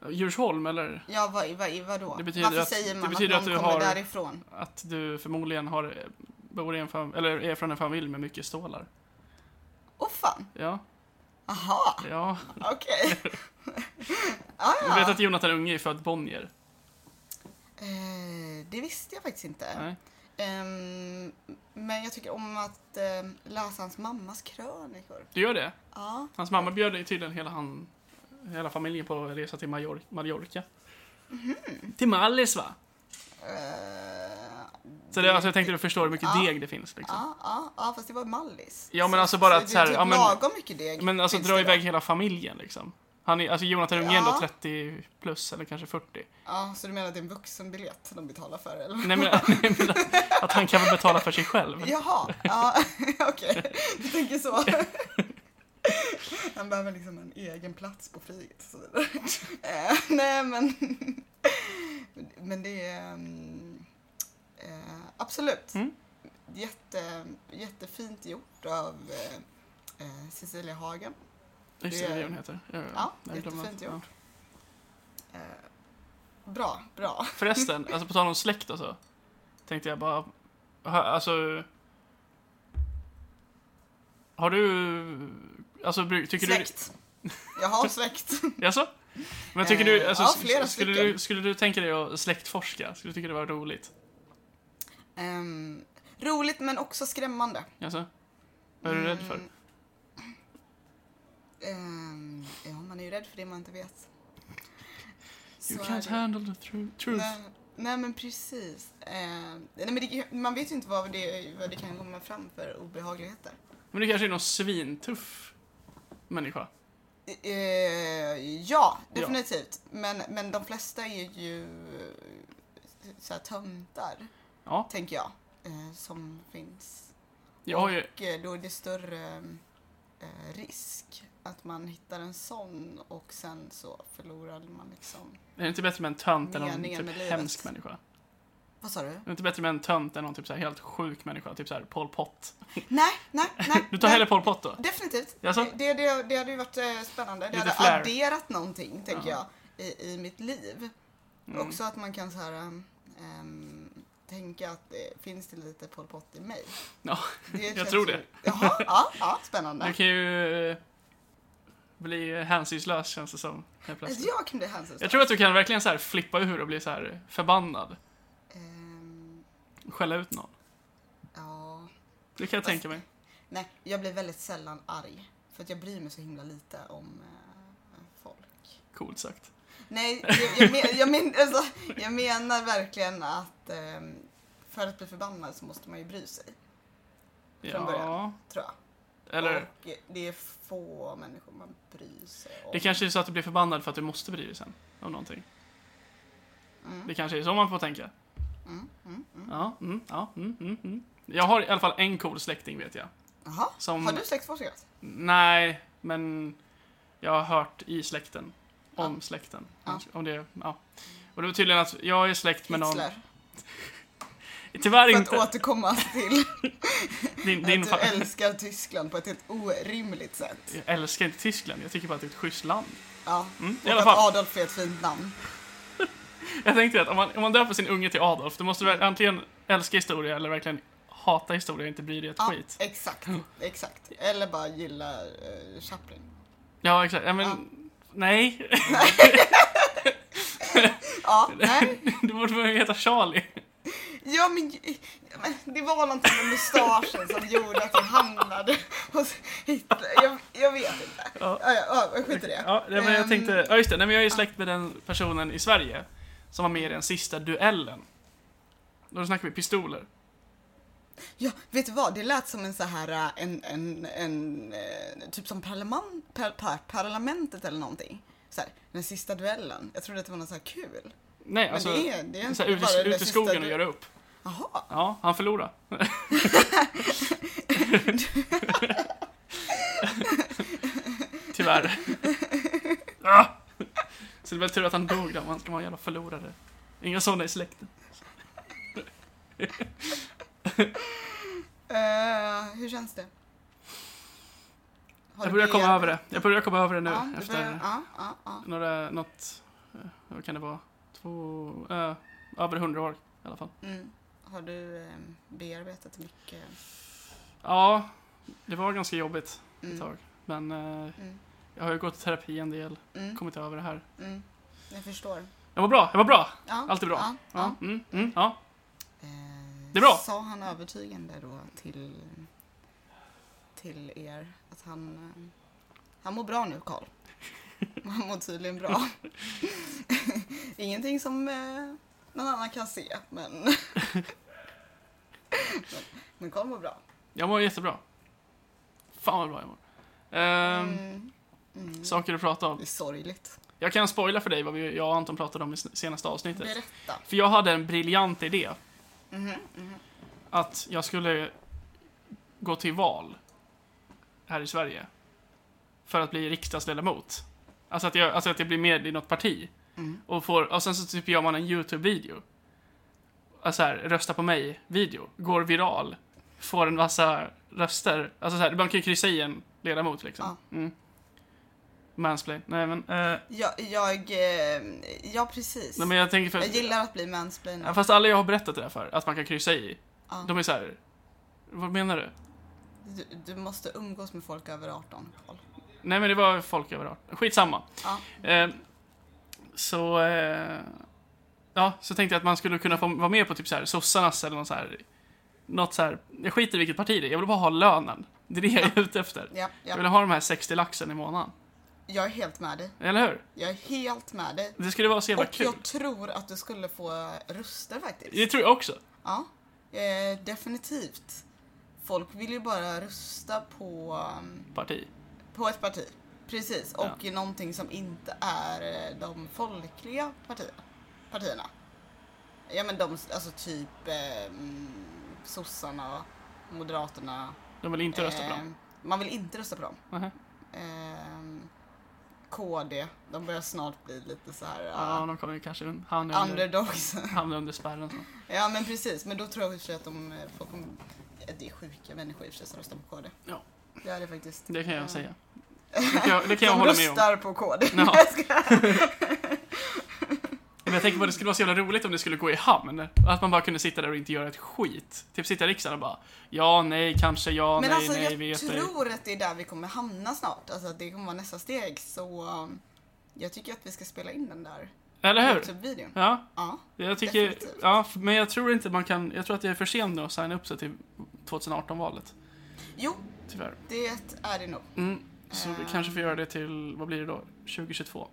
S2: det?
S1: Djursholm eller?
S2: Ja, vad, vad, vad då?
S1: Det betyder
S2: Varför
S1: att-
S2: säger
S1: det
S2: man att
S1: betyder
S2: någon
S1: att du
S2: kommer
S1: har-
S2: därifrån?
S1: Att du förmodligen har, bor i en fam- eller är från en familj med mycket stålar.
S2: Åh fan!
S1: Ja,
S2: Aha,
S1: ja.
S2: okej. ah,
S1: Du vet
S2: ja.
S1: att Jonathan Unge är född Bonnier?
S2: eh, det visste jag faktiskt inte.
S1: Nej.
S2: Ehm, men jag tycker om att ehm, läsa hans mammas krönikor.
S1: Du gör det?
S2: Ja.
S1: Hans mamma bjöd dig tydligen hela, han, hela familjen på en resa till Major-
S2: Mhm.
S1: Mallorca. Till Mallis va?
S2: eh,
S1: Så Så det, alltså, jag tänkte du förstår hur mycket
S2: Ja.
S1: deg det finns. Liksom.
S2: Ja, ja, ja, fast det var Mallis.
S1: Ja, men
S2: Så-
S1: alltså bara att
S2: det är
S1: så här,
S2: typ
S1: ja, men-
S2: lagom mycket deg.
S1: Men alltså
S2: finns
S1: dra
S2: det då.
S1: iväg hela familjen liksom. Han är, alltså Jonathan Unge är
S2: Ja.
S1: ändå 30 plus eller kanske 40.
S2: Ja, så du menar att det är en vuxenbiljett de betalar för eller?
S1: Nej men, nej, men att han kan väl betala för sig själv.
S2: Jaha, ja, okej. Du tänker så. Han behöver liksom en egen plats på flyget och så vidare. Eh, Nej men. Men det är. mm, eh, absolut.
S1: Mm.
S2: Jätte, jättefint gjort av eh, eh, Cecilia Hagen.
S1: Just
S2: Det-
S1: det, det hon heter. Ja,
S2: Ja,
S1: jag glömde
S2: jättefint
S1: att- ja.
S2: gjort. Eh, bra, bra.
S1: Förresten, alltså på tal om släkt och så. Tänkte jag bara, hö- alltså. Har du, alltså bru- tycker
S2: släkt. Jag har släkt.
S1: du... Jaså? Men tycker
S2: Eh,
S1: du, alltså,
S2: ja,
S1: s-
S2: flera
S1: skulle,
S2: stycken.
S1: du, skulle du tänka dig att släktforska? Skulle du tycka det var roligt?
S2: Ehm, roligt men också skrämmande.
S1: Jaså? Vad är du rädd för?
S2: Mm. Ehm, ja, man är ju rädd för det man inte vet.
S1: You
S2: Så är
S1: can't
S2: det.
S1: handle the tru- truth.
S2: Nej, nej men precis. Ehm, nej, men det, man vet ju inte vad det, vad det kan komma fram för obehagligheter.
S1: Men det kanske är någon svintuff människa.
S2: Ehm, E, ja,
S1: Ja.
S2: definitivt. Men, men de flesta är ju eh, så här, töntar,
S1: Ja,
S2: tänker jag, eh, som finns.
S1: jag har ju,
S2: Och eh, då är det större eh, risk att man hittar en sån och sen så förlorar man liksom
S1: är det inte bättre med en tönt än någon
S2: Meningen
S1: typ
S2: med livet.
S1: hemsk människa? Är
S2: Vad sa du?
S1: det inte bättre med en tönt än någon typ så här helt sjuk människa? Typ så här Pol Pot.
S2: Nej, nej, nej.
S1: Du tar
S2: nej.
S1: hellre Pol Pot då?
S2: Definitivt.
S1: Jaså?
S2: Det, det, det hade ju varit eh, spännande. Det
S1: Lite
S2: hade
S1: flair.
S2: adderat någonting, tänker
S1: Ja.
S2: jag, i, i mitt liv.
S1: Mm.
S2: Också att man kan så här ehm, ehm, tänka att det finns det lite Pol Pot i mig.
S1: Ja,
S2: Det känns
S1: tror
S2: ju-
S1: det.
S2: Jaha, ja, ja,
S1: Du
S2: spännande.
S1: kan ju eh, bli hänsynslös känns det som. Helt
S2: Alltså,
S1: plötsligt.
S2: jag kan bli hänsynslös.
S1: Jag tror att du kan verkligen så här flippa ur och bli så här förbannad.
S2: Ehm,
S1: Skälla ut någon.
S2: ja.
S1: Det kan jag
S2: Fast-
S1: tänka mig.
S2: Nej, jag blir väldigt sällan arg. För att jag bryr mig så himla lite om eh, folk.
S1: Coolt sagt.
S2: Nej, jag, jag, men, jag, men, alltså, jag menar verkligen att ehm, för att bli förbannad så måste man ju bry sig, Från
S1: Ja.
S2: början. tror jag.
S1: Eller,
S2: Och det är få människor man bryr sig om.
S1: det kanske är så att du blir förbannad för att du måste bry dig sen. Om någonting.
S2: Mm,
S1: Det kanske är så man får tänka.
S2: mm, mm, mm.
S1: Ja, mm, ja, mm, mm, mm. Jag har i alla fall en cool släkting vet jag.
S2: Jaha,
S1: Som-
S2: har du släktforskat?
S1: Nej, men jag har hört i släkten. Om släkten.
S2: Ja.
S1: Om det, ja. Och det var tydligen att jag är släkt med någon...
S2: Hitler?
S1: Tyvärr
S2: För att
S1: inte.
S2: återkomma till
S1: Din, din
S2: att du
S1: fa-
S2: älskar Tyskland på ett helt orimligt sätt.
S1: jag älskar inte Tyskland, jag tycker bara att det är ett schysst land.
S2: Ja.
S1: Mm, i
S2: och
S1: alla
S2: att
S1: fall.
S2: Adolf är ett fint namn.
S1: Jag tänkte att om man, om man döper sin unge till Adolf, då måste du väl antingen älska historia eller verkligen hata historia och inte bry dig ett
S2: Ja,
S1: skit.
S2: exakt, exakt. Eller bara gilla eh, Chaplin.
S1: Ja, exakt. Ja, men,
S2: Ja.
S1: Nej,
S2: Ja, nej.
S1: du borde väl heta Charlie.
S2: Ja men, men det var någonting med mustaschen som gjorde att jag hamnade hos Hitler. Jag, jag vet inte.
S1: Ja.
S2: Ja, ja, ja, skit i det.
S1: Ja, nej, men jag
S2: Ehm,
S1: tänkte, ja just det, nej, men jag är ju släkt med den personen i Sverige som var med i den sista duellen. Då snackar vi pistoler.
S2: Ja, vet du vad? Det lät som en så här, äh, en, en, en eh, typ som parlament, par, par, parlamentet eller någonting. Så här, den sista duellen. Jag trodde att det var något så här kul.
S1: Nej,
S2: Men
S1: alltså,
S2: det är, det är
S1: så
S2: inte
S1: här, ut,
S2: bara
S1: i-
S2: den
S1: ut i
S2: sista
S1: skogen och
S2: du-
S1: göra upp.
S2: Jaha,
S1: Ja, han förlorade. Tyvärr. Ah! Så det är väl tur att han dog då, om han ska vara en jävla förlorare. Inga sådana i släkten.
S2: Eh, hur känns det? Har
S1: Jag
S2: du
S1: börjar komma
S2: bearbetat-
S1: över det. Jag börjar komma över det nu.
S2: Ja, du
S1: efter
S2: börjar- ja, ja, ja.
S1: några, något, eh, vad kan det vara? Två, eh, över hundra år i alla fall.
S2: Mm. Har du eh, bearbetat mycket?
S1: Ja, det var ganska jobbigt ett
S2: Mm.
S1: tag. Men eh,
S2: Mm.
S1: jag har ju gått i terapi en del,
S2: Mm.
S1: kommit över det här.
S2: Mm. Jag förstår.
S1: Jag var bra, jag var bra!
S2: Ja.
S1: Allt är bra.
S2: Ja.
S1: Ja,
S2: ja.
S1: mm, mm, ja.
S2: Eh,
S1: Det är bra.
S2: Sa han övertygande då till, till er att han, eh, han mår bra nu Karl? Han mår tydligen bra. Ingenting som eh, någon annan kan se men Men Karl mår bra.
S1: Jag mår jättebra. Fan vad bra jag mår. Ehm,
S2: Mm. Mm.
S1: Saker att prata om.
S2: Det är sorgligt.
S1: Jag kan spoila för dig vad vi, jag och Anton pratade om i s- senaste avsnittet.
S2: Berätta.
S1: För jag hade en briljant idé.
S2: Mhm, mhm.
S1: Att jag skulle gå till val här i Sverige. För att bli riksdagsledamot. Alltså att jag, alltså att jag blir med i något parti.
S2: Mm.
S1: Och, får, och sen så typ gör man en YouTube-video. Alltså här, rösta på mig-video. Går viral. Får en massa röster. Alltså så här, man kan ju kryssa i en ledamot liksom. Mm. Mansplain. Nej men, eh,
S2: Jag, jag, eh, ja precis.
S1: nej men jag tänker för...
S2: jag gillar att bli mansplainad.
S1: Ja, fast alla jag har berättat det där för, att man kan kryssa i,
S2: Ja.
S1: de är så här. Vad menar du?
S2: Du, du måste umgås med folk över 18, Karl.
S1: Nej men det var folk överallt. Skitsamma.
S2: Ja.
S1: Eh, så... Eh, ja, så tänkte jag att man skulle kunna få vara med på typ så här sossarnas eller något så här... Något så här... Jag skiter i vilket parti det är, jag vill bara ha lönen. Det är det jag är ute efter.
S2: Ja,
S1: Jag
S2: ja.
S1: vill ha de här 60 laxen i månaden.
S2: Jag är helt med dig.
S1: Eller hur?
S2: Jag är helt med dig.
S1: Det skulle vara så jävla
S2: Och
S1: kul.
S2: jag tror att du skulle få röster faktiskt.
S1: Det tror jag också.
S2: Ja, eh, definitivt. Folk vill ju bara rösta på, um,
S1: Parti.
S2: på ett parti. Precis, och i någonting som inte är eh, de folkliga partierna. partierna. Ja men de, alltså typ eh, mm, sossarna, moderaterna.
S1: De vill inte rösta på
S2: eh,
S1: dem.
S2: Man vill inte rösta på dem.
S1: Nähä.
S2: Ehm, KD, de börjar snart bli lite så här
S1: Ja,
S2: eh,
S1: de kommer ju kanske un- hamna under,
S2: underdogs.
S1: hamna under spärren. Så.
S2: Ja men precis, men då tror jag i och för sig att de eh, folk kommer... ja, Det är sjuka människor i och för sig som röstar på KD.
S1: Ja.
S2: Det är det faktiskt.
S1: Det kan jag
S2: Ja.
S1: säga. Det kan jag, det kan jag
S2: som
S1: hålla med om.
S2: röstar på KD.
S1: Ja.
S2: Jag ska-
S1: Men jag tänker på att det skulle vara så jävla roligt om det skulle gå i hamn. Att man bara kunde sitta där och inte göra ett skit. Typ sitta i riksdagen och bara Ja, nej, kanske, ja,
S2: men
S1: nej,
S2: alltså
S1: nej,
S2: jag
S1: vet ej.
S2: tror att det är där vi kommer hamna snart. Alltså att det kommer vara nästa steg. Så um, jag tycker att vi ska spela in den där
S1: Eller hur?
S2: Youtube-videon.
S1: Ja,
S2: Ja.
S1: jag tycker...
S2: Definitivt.
S1: Ja, f- men jag tror inte man kan... Jag tror att det är för sent nu att signa upp sig till 2018-valet.
S2: Jo,
S1: Tyvärr.
S2: det är det nog.
S1: Mm. Så vi
S2: Eh.
S1: kanske får göra det till, vad blir det då? 2022?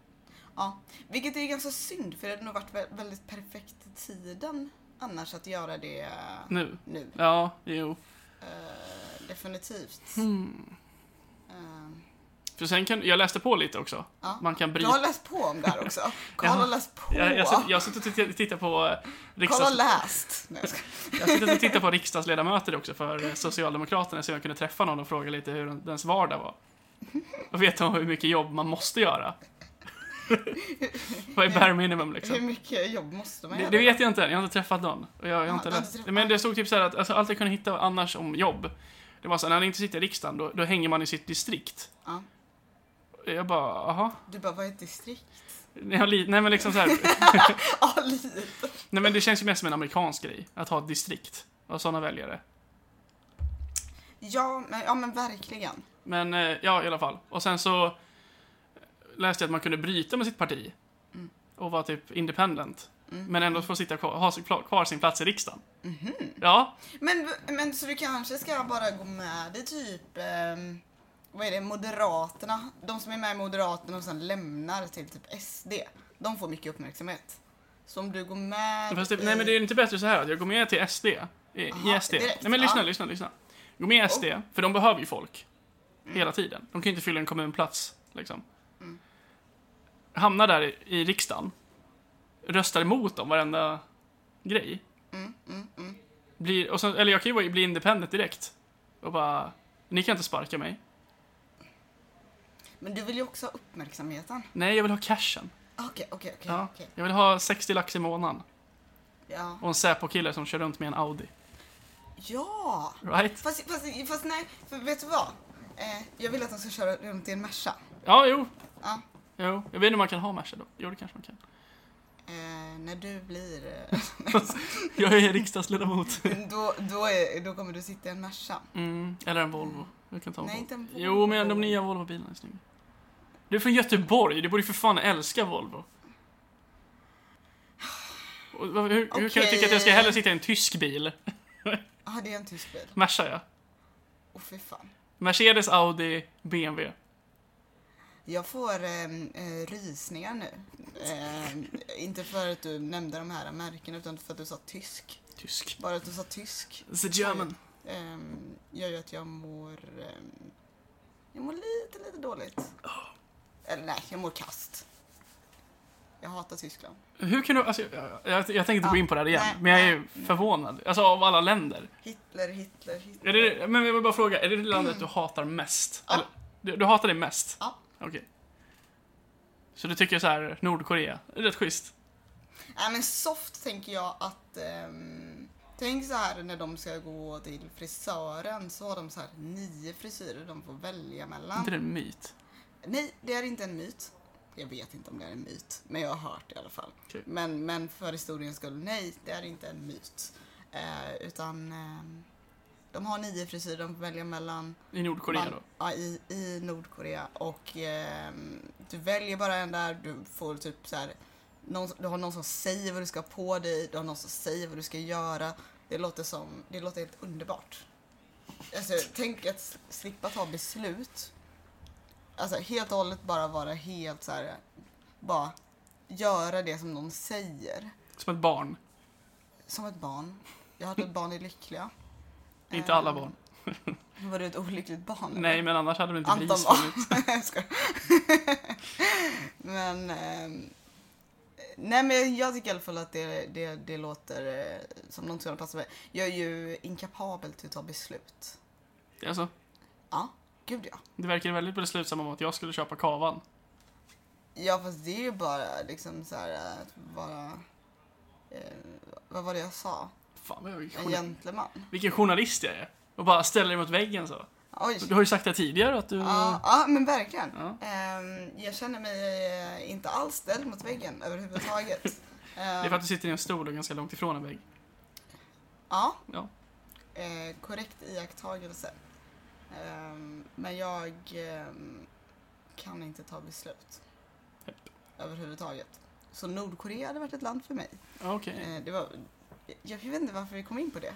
S2: Ja. Vilket är ganska synd för det hade nog varit vä- väldigt perfekt i tiden annars att göra det
S1: Nu?
S2: nu.
S1: Ja, jo.
S2: Eh, definitivt.
S1: Hmm.
S2: Ehm,
S1: För sen kan... Jag läste på lite också.
S2: ja.
S1: Man kan
S2: Du
S1: bryta...
S2: har läst på om det här också. Karl
S1: Ja.
S2: har läst på.
S1: Jag, jag, sitter- jag sitter och tittar- tittar på eh,
S2: Karl
S1: riksdags...
S2: har läst. Nej, jag skojar.
S1: Jag sitter och Alltså, tittar på riksdagsledamöter också för eh, Socialdemokraterna så jag kunde träffa någon och fråga lite hur dens vardag var. Och veta hur mycket jobb man måste göra. Vad är bare minimum
S2: Hur
S1: liksom?
S2: mycket jobb måste man
S1: Det,
S2: göra?
S1: det vet jag inte än, jag har inte träffat någon. Och jag, jag har
S2: Ja,
S1: inte
S2: du har
S1: läst.
S2: inte träffat-
S1: Men det stod typ så här att alltså, allt jag kunde hitta annars om jobb, det var så här, när han inte sitter i riksdagen, då, då hänger man i sitt distrikt.
S2: Ja.
S1: Jag bara, jaha?
S2: Du bara, vad är ett distrikt?
S1: Nej, jag li- nej men liksom så här,
S2: Ja, lite.
S1: nej men det känns ju mest som en amerikansk grej, att ha ett distrikt. Och sådana väljare.
S2: Ja men, ja, men verkligen.
S1: Men eh, ja, i alla fall. Och sen så eh, läste jag att man kunde bryta med sitt parti
S2: Mm.
S1: och vara typ independent.
S2: Mm. Mhm.
S1: Men ändå få sitta kvar, ha sig kvar, kvar sin plats i riksdagen. Ja,
S2: Men, men så du kanske ska bara gå med i typ, ehm, vad är det, Moderaterna? De som är med i Moderaterna och sen lämnar till typ SD. De får mycket uppmärksamhet. Så om du går med
S1: fast det,
S2: i-
S1: nej men det är inte bättre så här att jag går med till SD. I,
S2: Aha,
S1: i SD.
S2: direkt, Oh.
S1: nej men lyssna,
S2: ja.
S1: lyssna, lyssna. Gå med i SD, för de behöver ju folk.
S2: Mm.
S1: Hela tiden. De kan ju inte fylla en kommunplats, liksom. Hamnar där i, i riksdagen. Röstar emot dem varenda grej.
S2: Mm, mm, mm.
S1: Blir, och sen, eller jag kan ju bara bli independent direkt. Och bara, ni kan inte sparka mig.
S2: Men du vill ju också ha uppmärksamheten.
S1: Nej, jag vill ha cashen.
S2: Okej, okej, okej,
S1: Ja.
S2: okej.
S1: Jag vill ha 60 lax i månaden.
S2: Ja.
S1: Och en Säpo-kille som kör runt med en Audi.
S2: Ja!
S1: Right?
S2: Fast, fast, fast nej, för vet du vad? Eh, jag vill att de ska köra runt i en Merca.
S1: Ja, jo.
S2: Ja.
S1: Jo. Jag vet inte om man kan ha Merca då. Jo, det kanske man kan.
S2: Eh, när du blir... eh,
S1: Jag är riksdagsledamot.
S2: då, då, är, då kommer du sitta i en Merca.
S1: Mm. Eller en Volvo. Jag kan ta en
S2: Nej,
S1: Volvo.
S2: inte en Volvo.
S1: Jo, men de nya Volvo-bilarna är snygga. Du är från Göteborg. Du borde ju för fan älska Volvo. Och, vad- hur, hur kan du tycka att jag ska hellre sitta i en tysk bil?
S2: Ja, ah, det är en tysk bil.
S1: Merca, ja.
S2: Åh fy fan.
S1: Mercedes, Audi, BMW.
S2: Jag får eh, eh, Ehm, rysningar nu. Eh, inte för att du nämnde de här märkena utan för att du sa tysk.
S1: Tysk.
S2: Bara att du sa tysk
S1: The German.
S2: ehm, gör ju att jag mår... ehm, jag mår lite, lite dåligt.
S1: Oh.
S2: Eller nej, jag mår kast. Jag hatar Tyskland.
S1: Hur kan du... Alltså, jag, jag, jag tänker inte gå
S2: Ja.
S1: in på det här igen,
S2: Nej,
S1: men jag är
S2: nej, nej.
S1: förvånad. Alltså av alla länder.
S2: Hitler, Hitler, Hitler.
S1: Är det, men jag vill bara fråga, är det det landet du hatar mest?
S2: Ja.
S1: Eller, du, du hatar det mest?
S2: Ja.
S1: Okej. Så du tycker så här, Nordkorea, det är rätt schysst?
S2: Nej men soft tänker jag att... ehm, tänk så här när de ska gå till frisören så har de så här nio frisyrer de får välja
S1: Är
S2: mellan.
S1: inte det en myt?
S2: Nej, det är inte en myt. Jag vet inte om det är en myt, men jag har hört det i alla fall.
S1: Okej.
S2: Men, men för historiens skull, nej, det är inte en myt. Eh, utan ehm, de har nio frisyrer de får välja mellan.
S1: I Nordkorea
S2: Man-
S1: då?
S2: Ja, i, i Nordkorea. Och ehm, du väljer bara en där, du får typ så här, någon, du har någon som säger vad du ska ha på dig, du har någon som säger vad du ska göra. Det låter som, det låter helt underbart. Alltså, tänk att s- slippa ta beslut. Alltså helt och hållet bara vara helt så här, bara göra det som någon säger.
S1: Som ett barn.
S2: Som ett barn. Jag hade ett barn i Lyckliga.
S1: Inte alla
S2: Eh,
S1: barn.
S2: Ehm, Var du ett olyckligt barn? eller?
S1: Nej, men annars hade det inte blivit
S2: Anton
S1: isfunnit.
S2: var... Jag skojar. men... ehm, nej men jag tycker i alla fall att det, det, det låter eh, som något som passar mig. Jag är ju inkapabel till att ta beslut.
S1: Det är så.
S2: Ja, gud ja.
S1: Du Alltså, verkar väldigt beslutsamma om att jag skulle köpa kavan.
S2: Ja fast det är ju bara liksom så här att vara... Eh, vad var det jag sa?
S1: Fan vad jag är
S2: En
S1: journal-
S2: gentleman.
S1: Vilken journalist jag är. Och bara ställer dig mot väggen så.
S2: Oj.
S1: Du har ju sagt det här tidigare att du...
S2: Ja, ja men verkligen.
S1: Ja.
S2: Ehm, jag känner mig eh, inte alls ställd mot väggen överhuvudtaget.
S1: Det är för att du sitter i en stol och ganska långt ifrån en vägg.
S2: Ehm, Ja,
S1: Ja.
S2: eh, korrekt iakttagelse. Ehm, men jag ehm, kan inte ta beslut. Överhuvudtaget. Så Nordkorea hade varit ett land för mig.
S1: Ja, Okej.
S2: Eh, det var, jag vet inte varför vi kom in på det.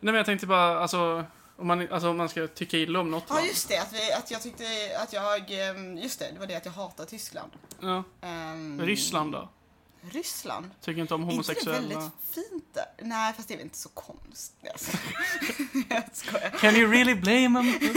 S1: Nej men jag tänkte bara, alltså... Om man, alltså, om man ska tycka illa om något
S2: Ja
S1: land.
S2: just det, att, vi, att jag tyckte att jag... ehm, Just det, det var det att jag hatar Tyskland.
S1: Ja.
S2: Ehm,
S1: Ryssland då?
S2: Ryssland?
S1: Tycker inte om
S2: Inte det
S1: homosexuella.
S2: väldigt fint där? Nej fast det är väl inte så konstigt. Alltså. jag skojar.
S1: Can you really blame them?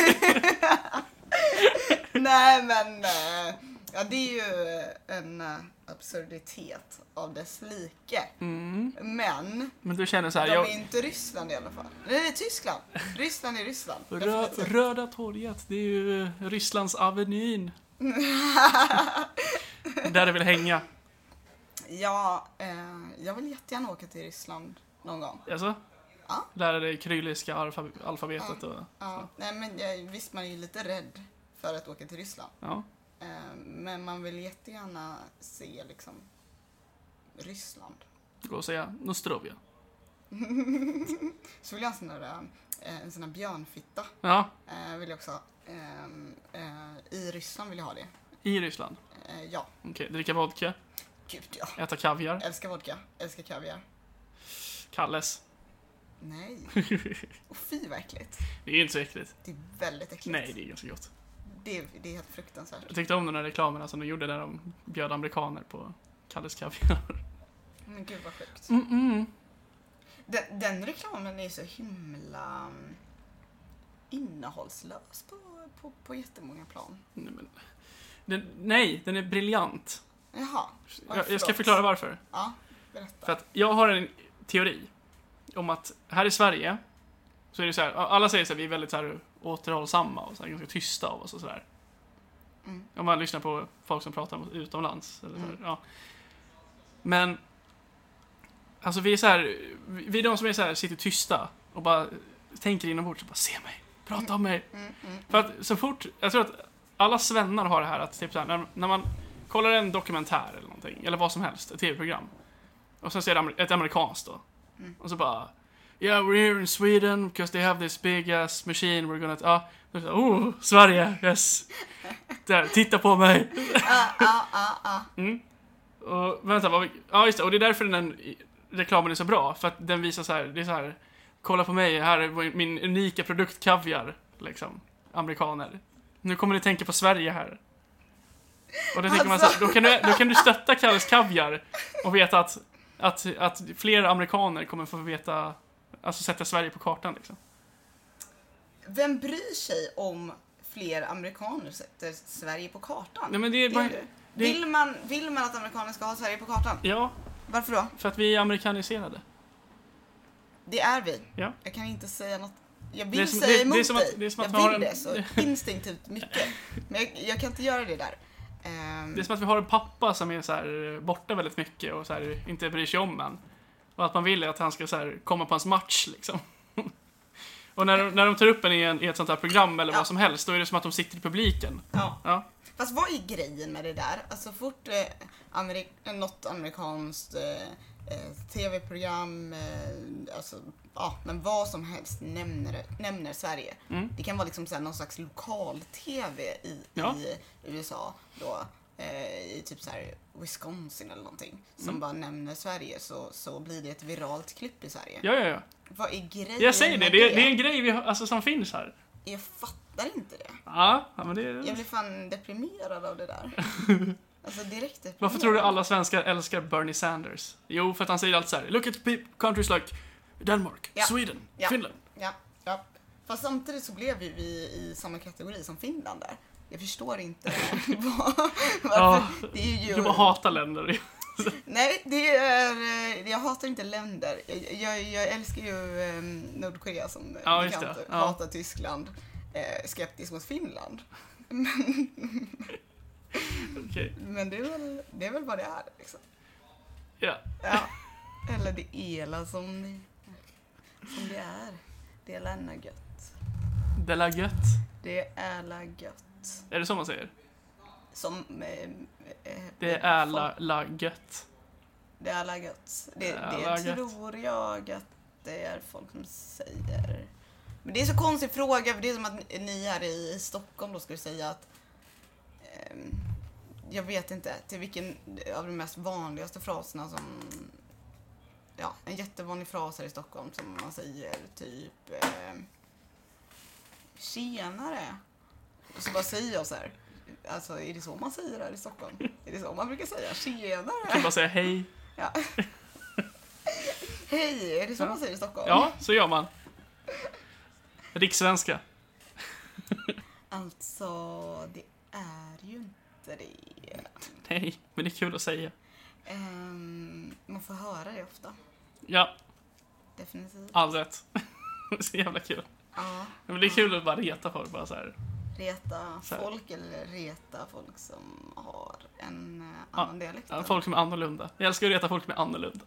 S2: Nej men, eh, ja det är ju eh, en eh, absurditet av dess like.
S1: Mm.
S2: Men,
S1: Men du känner så här,
S2: de är
S1: jag...
S2: inte Ryssland i alla fall. Nej, det är Tyskland. Ryssland är Ryssland.
S1: Rö,
S2: definitivt.
S1: Röda torget, det är ju eh, Rysslands avenyn. Där du vill hänga.
S2: ja, eh, jag vill jättegärna åka till Ryssland någon gång.
S1: Alltså?
S2: Ja.
S1: Lära dig kryliska alfab- alfabetet och...
S2: Ja, nej men jag, visst man är ju lite rädd för att åka till Ryssland.
S1: Ja.
S2: Eh, men man vill jättegärna se liksom Ryssland.
S1: Gå och säga Nostrovia.
S2: Så vill jag ha en sån där, eh, en sån där björnfitta.
S1: Ja,
S2: Eh, vill jag också ha. Ehm, eh, I Ryssland vill jag ha det.
S1: i Ryssland.
S2: Eh, ja,
S1: Okej, dricka vodka,
S2: gud ja.
S1: äta kaviar,
S2: Älskar vodka, älskar kaviar.
S1: Kalles.
S2: Nej. Och fy vad äckligt.
S1: Det är ju inte så äckligt.
S2: Det är väldigt äckligt.
S1: Nej, det är ganska gott.
S2: Det, är- det är helt fruktansvärt.
S1: Jag tyckte om de där reklamerna som de gjorde där de bjöd amerikaner på Kalles kaviar.
S2: Men gud vad sjukt.
S1: Mm, mm.
S2: Den, den reklamen är så himla mm, innehållslös på, på, på jättemånga plan.
S1: Nej, men... den, nej, den är briljant.
S2: Jaha. Oj,
S1: Jag, jag ska
S2: förlåt.
S1: förklara varför.
S2: Ja, berätta.
S1: För att jag har en teori om att här i Sverige så är det så här, alla säger så här, vi är väldigt så här återhållsamma och så här, ganska tysta av oss och sådär.
S2: Mm.
S1: Om man lyssnar på folk som pratar om utomlands. Eller så här,
S2: Mm.
S1: ja. Men, alltså vi är så här, vi vi är de som är så här, sitter tysta och bara tänker inombords och bara se mig, prata om mig.
S2: Mm, mm.
S1: För att så fort, jag tror att alla svennar har det här att typ så här, när, när man kollar en dokumentär eller någonting, eller vad som helst, ett tv-program. Och sen så är det amer- ett amerikanskt då.
S2: Mm.
S1: Och så bara Yeah, we're here in Sweden because they have this big ass machine we're gonna... Ja, Då är det så här, oh, Sverige, yes! Där, titta på mig! Mm.
S2: Ah, ah, ah, ah.
S1: Och vänta, vad, vi- ja just det, och det är därför den här i- reklamen är så bra, för att den visar så här, det är så här, kolla på mig, här är vår- min unika produkt kaviar, liksom, amerikaner. Nu kommer ni tänka på Sverige här. Och då tänker man så här, då kan, du, då kan du stötta Kalles kaviar och veta att Att, att fler amerikaner kommer få veta, alltså sätta Sverige på kartan liksom.
S2: Vem bryr sig om fler amerikaner sätter Sverige på kartan?
S1: Nej, men det är
S2: Det
S1: bara,
S2: gör du.
S1: det-
S2: Vill, man, vill man att amerikaner ska ha Sverige på kartan?
S1: ja,
S2: Varför då?
S1: för att vi är amerikaniserade.
S2: Det är vi.
S1: Ja.
S2: Jag kan inte säga något. Jag
S1: Det är
S2: vill
S1: som- det-
S2: säga
S1: det är
S2: emot
S1: som att-
S2: dig.
S1: det är som att vi
S2: jag
S1: har
S2: vill
S1: en-
S2: det så instinktivt mycket. Men jag, jag kan inte göra det där. Ehm,
S1: Det är som att vi har en pappa som är så här eh, borta väldigt mycket och så här, inte bryr sig om en. Och att man vill är att han ska så här, komma på hans match liksom. Och när, de- när de tar upp en i, en i ett sånt här program eller
S2: Ja.
S1: vad som helst, då är det som att de sitter i publiken.
S2: ja.
S1: Ja,
S2: Fast vad är grejen med det där? Alltså fort eh, Ameri- något amerikanskt eh, eh, tv-program, eh, alltså ja, men vad som helst nämner, nämner Sverige.
S1: Mm.
S2: Det kan vara liksom så här, någon slags lokal-tv i,
S1: Ja.
S2: i USA då. eh, I typ så här Wisconsin eller någonting som
S1: Mm.
S2: bara nämner Sverige så, så blir det ett viralt klipp i Sverige.
S1: ja, ja. ja.
S2: Vad är grejen
S1: Jag säger det,
S2: med
S1: det, är- det är en grej vi har, alltså, som finns här.
S2: Jag fattar inte det.
S1: Ja, ja men det
S2: Jag
S1: är...
S2: blir fan deprimerad av det där. Alltså direkt deprimerad.
S1: Varför tror du alla svenskar älskar Bernie Sanders? Jo, för att han säger alltid så här. Look at pe- countries like Denmark,
S2: Ja.
S1: Sweden,
S2: Ja.
S1: Finland.
S2: Ja, ja. Fast samtidigt så blev ju vi i samma kategori som Finland där. Jag förstår inte vad,
S1: Ja,
S2: varför. Det är ju...
S1: Du bara hatar länder.
S2: Nej, det är... eh, Jag hatar inte länder. Jag, jag, jag älskar ju eh, Nordkorea som eh,
S1: Ja, just
S2: bekant.
S1: det. Ja.
S2: Hatar Tyskland. Eh, skeptisk mot Finland.
S1: Okej.
S2: Men det är väl, det är väl vad det är liksom.
S1: Ja.
S2: Ja. Eller det ela som det, som det är. Det är la gött.
S1: Det är gött.
S2: Det är la gött.
S1: Är det så man säger?
S2: Som... Eh, eh,
S1: Det är la, la gött.
S2: Det är la gött. Det,
S1: Det
S2: det,
S1: är la gött.
S2: tror jag att det är folk som säger. Men det är så konstig fråga för det är som att ni här i Stockholm då skulle säga att ehm, jag vet inte till vilken av de mest vanligaste fraserna som ja, en jättevanlig fras här i Stockholm som man säger typ ehm, tjenare. Och så bara säger jag så här. Alltså är det så man säger här i Stockholm? Är det så man brukar säga?
S1: Jag kan
S2: Tjenare!
S1: bara säga hej.
S2: Ja. Hej, är det så
S1: Ja.
S2: man säger i Stockholm?
S1: Ja, så gör man. Rikssvenska.
S2: Alltså, det är ju inte det.
S1: Nej, men det är kul att säga.
S2: Ehm, man får höra det ofta,
S1: Ja,
S2: definitivt.
S1: all rätt. Det är så jävla kul.
S2: Ja,
S1: Men det är kul att bara reta folk bara så här.
S2: reta
S1: Så här.
S2: folk eller reta folk som har en eh, annan dialekt.
S1: Ja, Folk som är annorlunda. Jag älskar att reta folk som är annorlunda.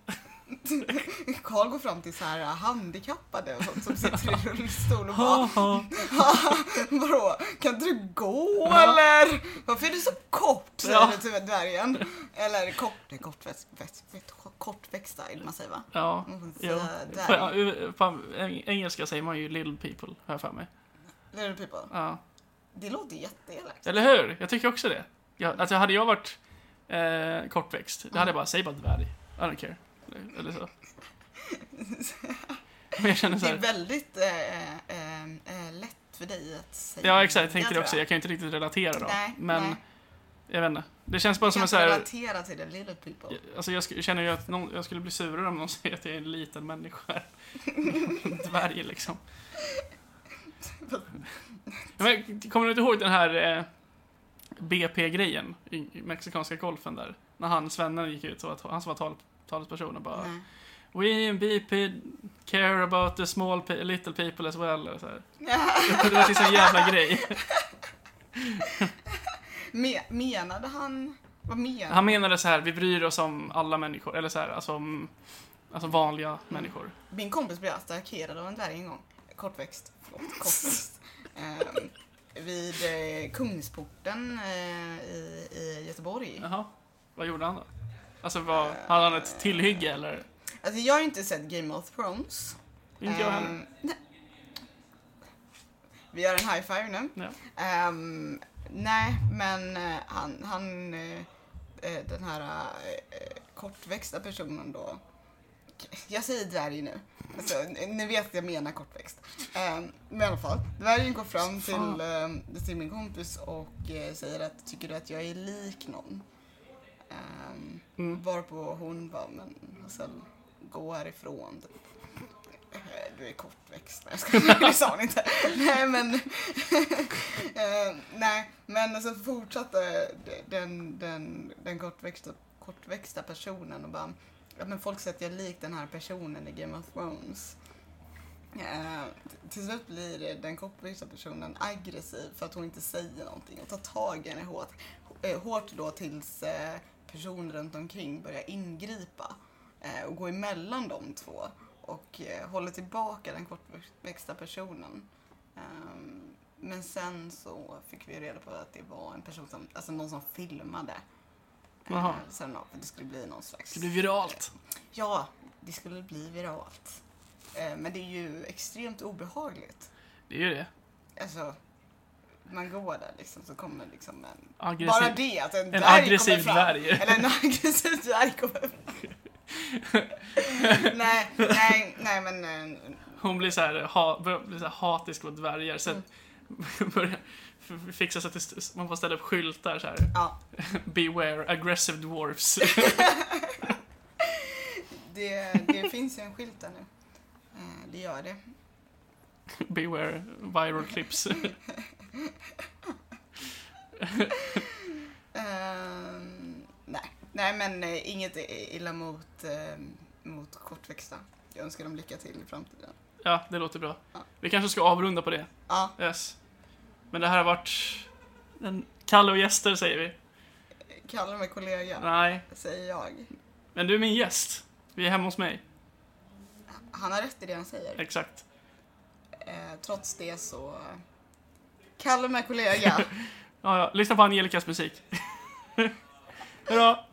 S2: Karl går fram till så här eh, handikappade och sånt som sitter i rullstol och
S1: Ha,
S2: bara
S1: ha.
S2: Vadå, kan inte du gå
S1: Ja.
S2: eller? Varför är du så kort? Säger
S1: Ja.
S2: du till dvärgen. Eller kort, det är kortväxt, växt, växt, kortväxta vill man säga va?
S1: Ja.
S2: Man får inte
S1: Jo.
S2: säga
S1: På,
S2: dvärg.
S1: u- på eng- engelska säger man ju little people, har jag för mig.
S2: Little people.
S1: Ja.
S2: Det låter jätteelakt.
S1: Eller hur? Jag tycker också det. Jag, alltså hade jag varit eh, kortväxt, då hade jag bara, säg bara dvärg. I don't care. Eller- Eller så. Men jag känner så
S2: Det är
S1: här,
S2: väldigt eh, eh, eh, lätt för dig att säga.
S1: Ja exakt, jag tänkte det
S2: tror
S1: också. Jag kan ju inte riktigt relatera då.
S2: Nej,
S1: men
S2: nej.
S1: jag vet inte. Det känns bara
S2: Jag
S1: som
S2: kan
S1: en
S2: inte
S1: så här,
S2: relatera till det, little people.
S1: Alltså jag sk- känner ju att någon, jag skulle bli surare om någon säger att jag är en liten människa. En Dvärg liksom. Ja, Men, kommer du inte ihåg den här eh, BP-grejen i mexikanska golfen där? När han, svennen, gick ut och var, han som var tal, talesperson och bara
S2: Nej.
S1: We in BP care about the small pe- little people as well. Och så här. Det var liksom en jävla grej.
S2: Me- menade han, vad menade
S1: Han menade så här, vi bryr oss om alla människor, eller så här, alltså, om, alltså
S2: Mm.
S1: vanliga människor.
S2: Min kompis blev attackerad av en dvärg en gång. Kortväxt. Förlåt, kortväxt. Ehm, vid eh, Kungsporten eh, i, i Göteborg.
S1: Jaha, vad gjorde han då? Alltså vad, hade han ett tillhygge eller?
S2: Alltså jag har ju inte sett Game of Thrones.
S1: Inte jag heller.
S2: Ehm, nej. Vi gör en high five nu.
S1: Ja.
S2: Ehm, nej, men eh, han, han eh, eh, den här eh, eh, kortväxta personen då. Jag säger dvärg nu. Alltså, ni- ni vet att jag menar kortväxt. Ehm, men i alla fall, dvärgen går
S1: Fan.
S2: fram till, ehm, eh, till min kompis och eh, säger att tycker du att jag är lik någon? Ehm,
S1: Mm.
S2: Varpå hon bara, men alltså gå härifrån. typ. Eh, Du är kortväxt. Nej, jag skojar. det sa hon inte. Nej men, Eh, nej, men så fortsatte den, den, den kortväxta, kortväxta personen och bara, ja, men folk säger att jag är lik den här personen i Game of Thrones. Eh, till slut blir den kortväxta personen aggressiv för att hon inte säger någonting och tar tag i henne hårt, eh, hårt då tills eh, personen runt omkring börjar ingripa eh, och gå emellan de två och eh, håller tillbaka den kortväxta personen. Ehm, men sen så fick vi reda på att det var en person som, alltså någon som filmade.
S1: Jaha.
S2: Eh, sen då, för det skulle bli någon slags...
S1: Det blir viralt.
S2: Ja, det skulle bli viralt. Eh, Men det är ju extremt obehagligt.
S1: Det är ju det.
S2: Alltså, man går där liksom så kommer liksom en... Bara
S1: Aggressiv.
S2: det, att en,
S1: En
S2: dvärg
S1: aggressiv
S2: kommer fram.
S1: dvärg.
S2: Eller en aggressiv dvärg kommer fram. nej, nej, nej men... eh,
S1: Hon blir så här, ha, börjar bli så här hatisk mot dvärgar. Sen
S2: Mm.
S1: börjar f- fixa så att det, st- man får ställa upp skyltar så här.
S2: Ja,
S1: Beware aggressive dwarfs.
S2: det, det finns ju en skylt där nu. Eh, Det gör det.
S1: Beware viral clips.
S2: Ehm, nej. nej, men eh, inget illa mot, eh, mot kortväxta. Jag önskar dem lycka till i framtiden.
S1: Ja, det låter bra.
S2: Ja.
S1: Vi kanske ska avrunda på det.
S2: Ja,
S1: Yes. Men det här har varit... En Kalle och gäster säger vi.
S2: kalla mig kollega.
S1: Nej,
S2: säger jag.
S1: men du är min gäst. Vi är hemma hos mig.
S2: Han har rätt i det han säger.
S1: Exakt.
S2: Eh, trots det så... Kalle mig kollega.
S1: Ja, ja. Lyssna på Angelicas musik. Hejdå!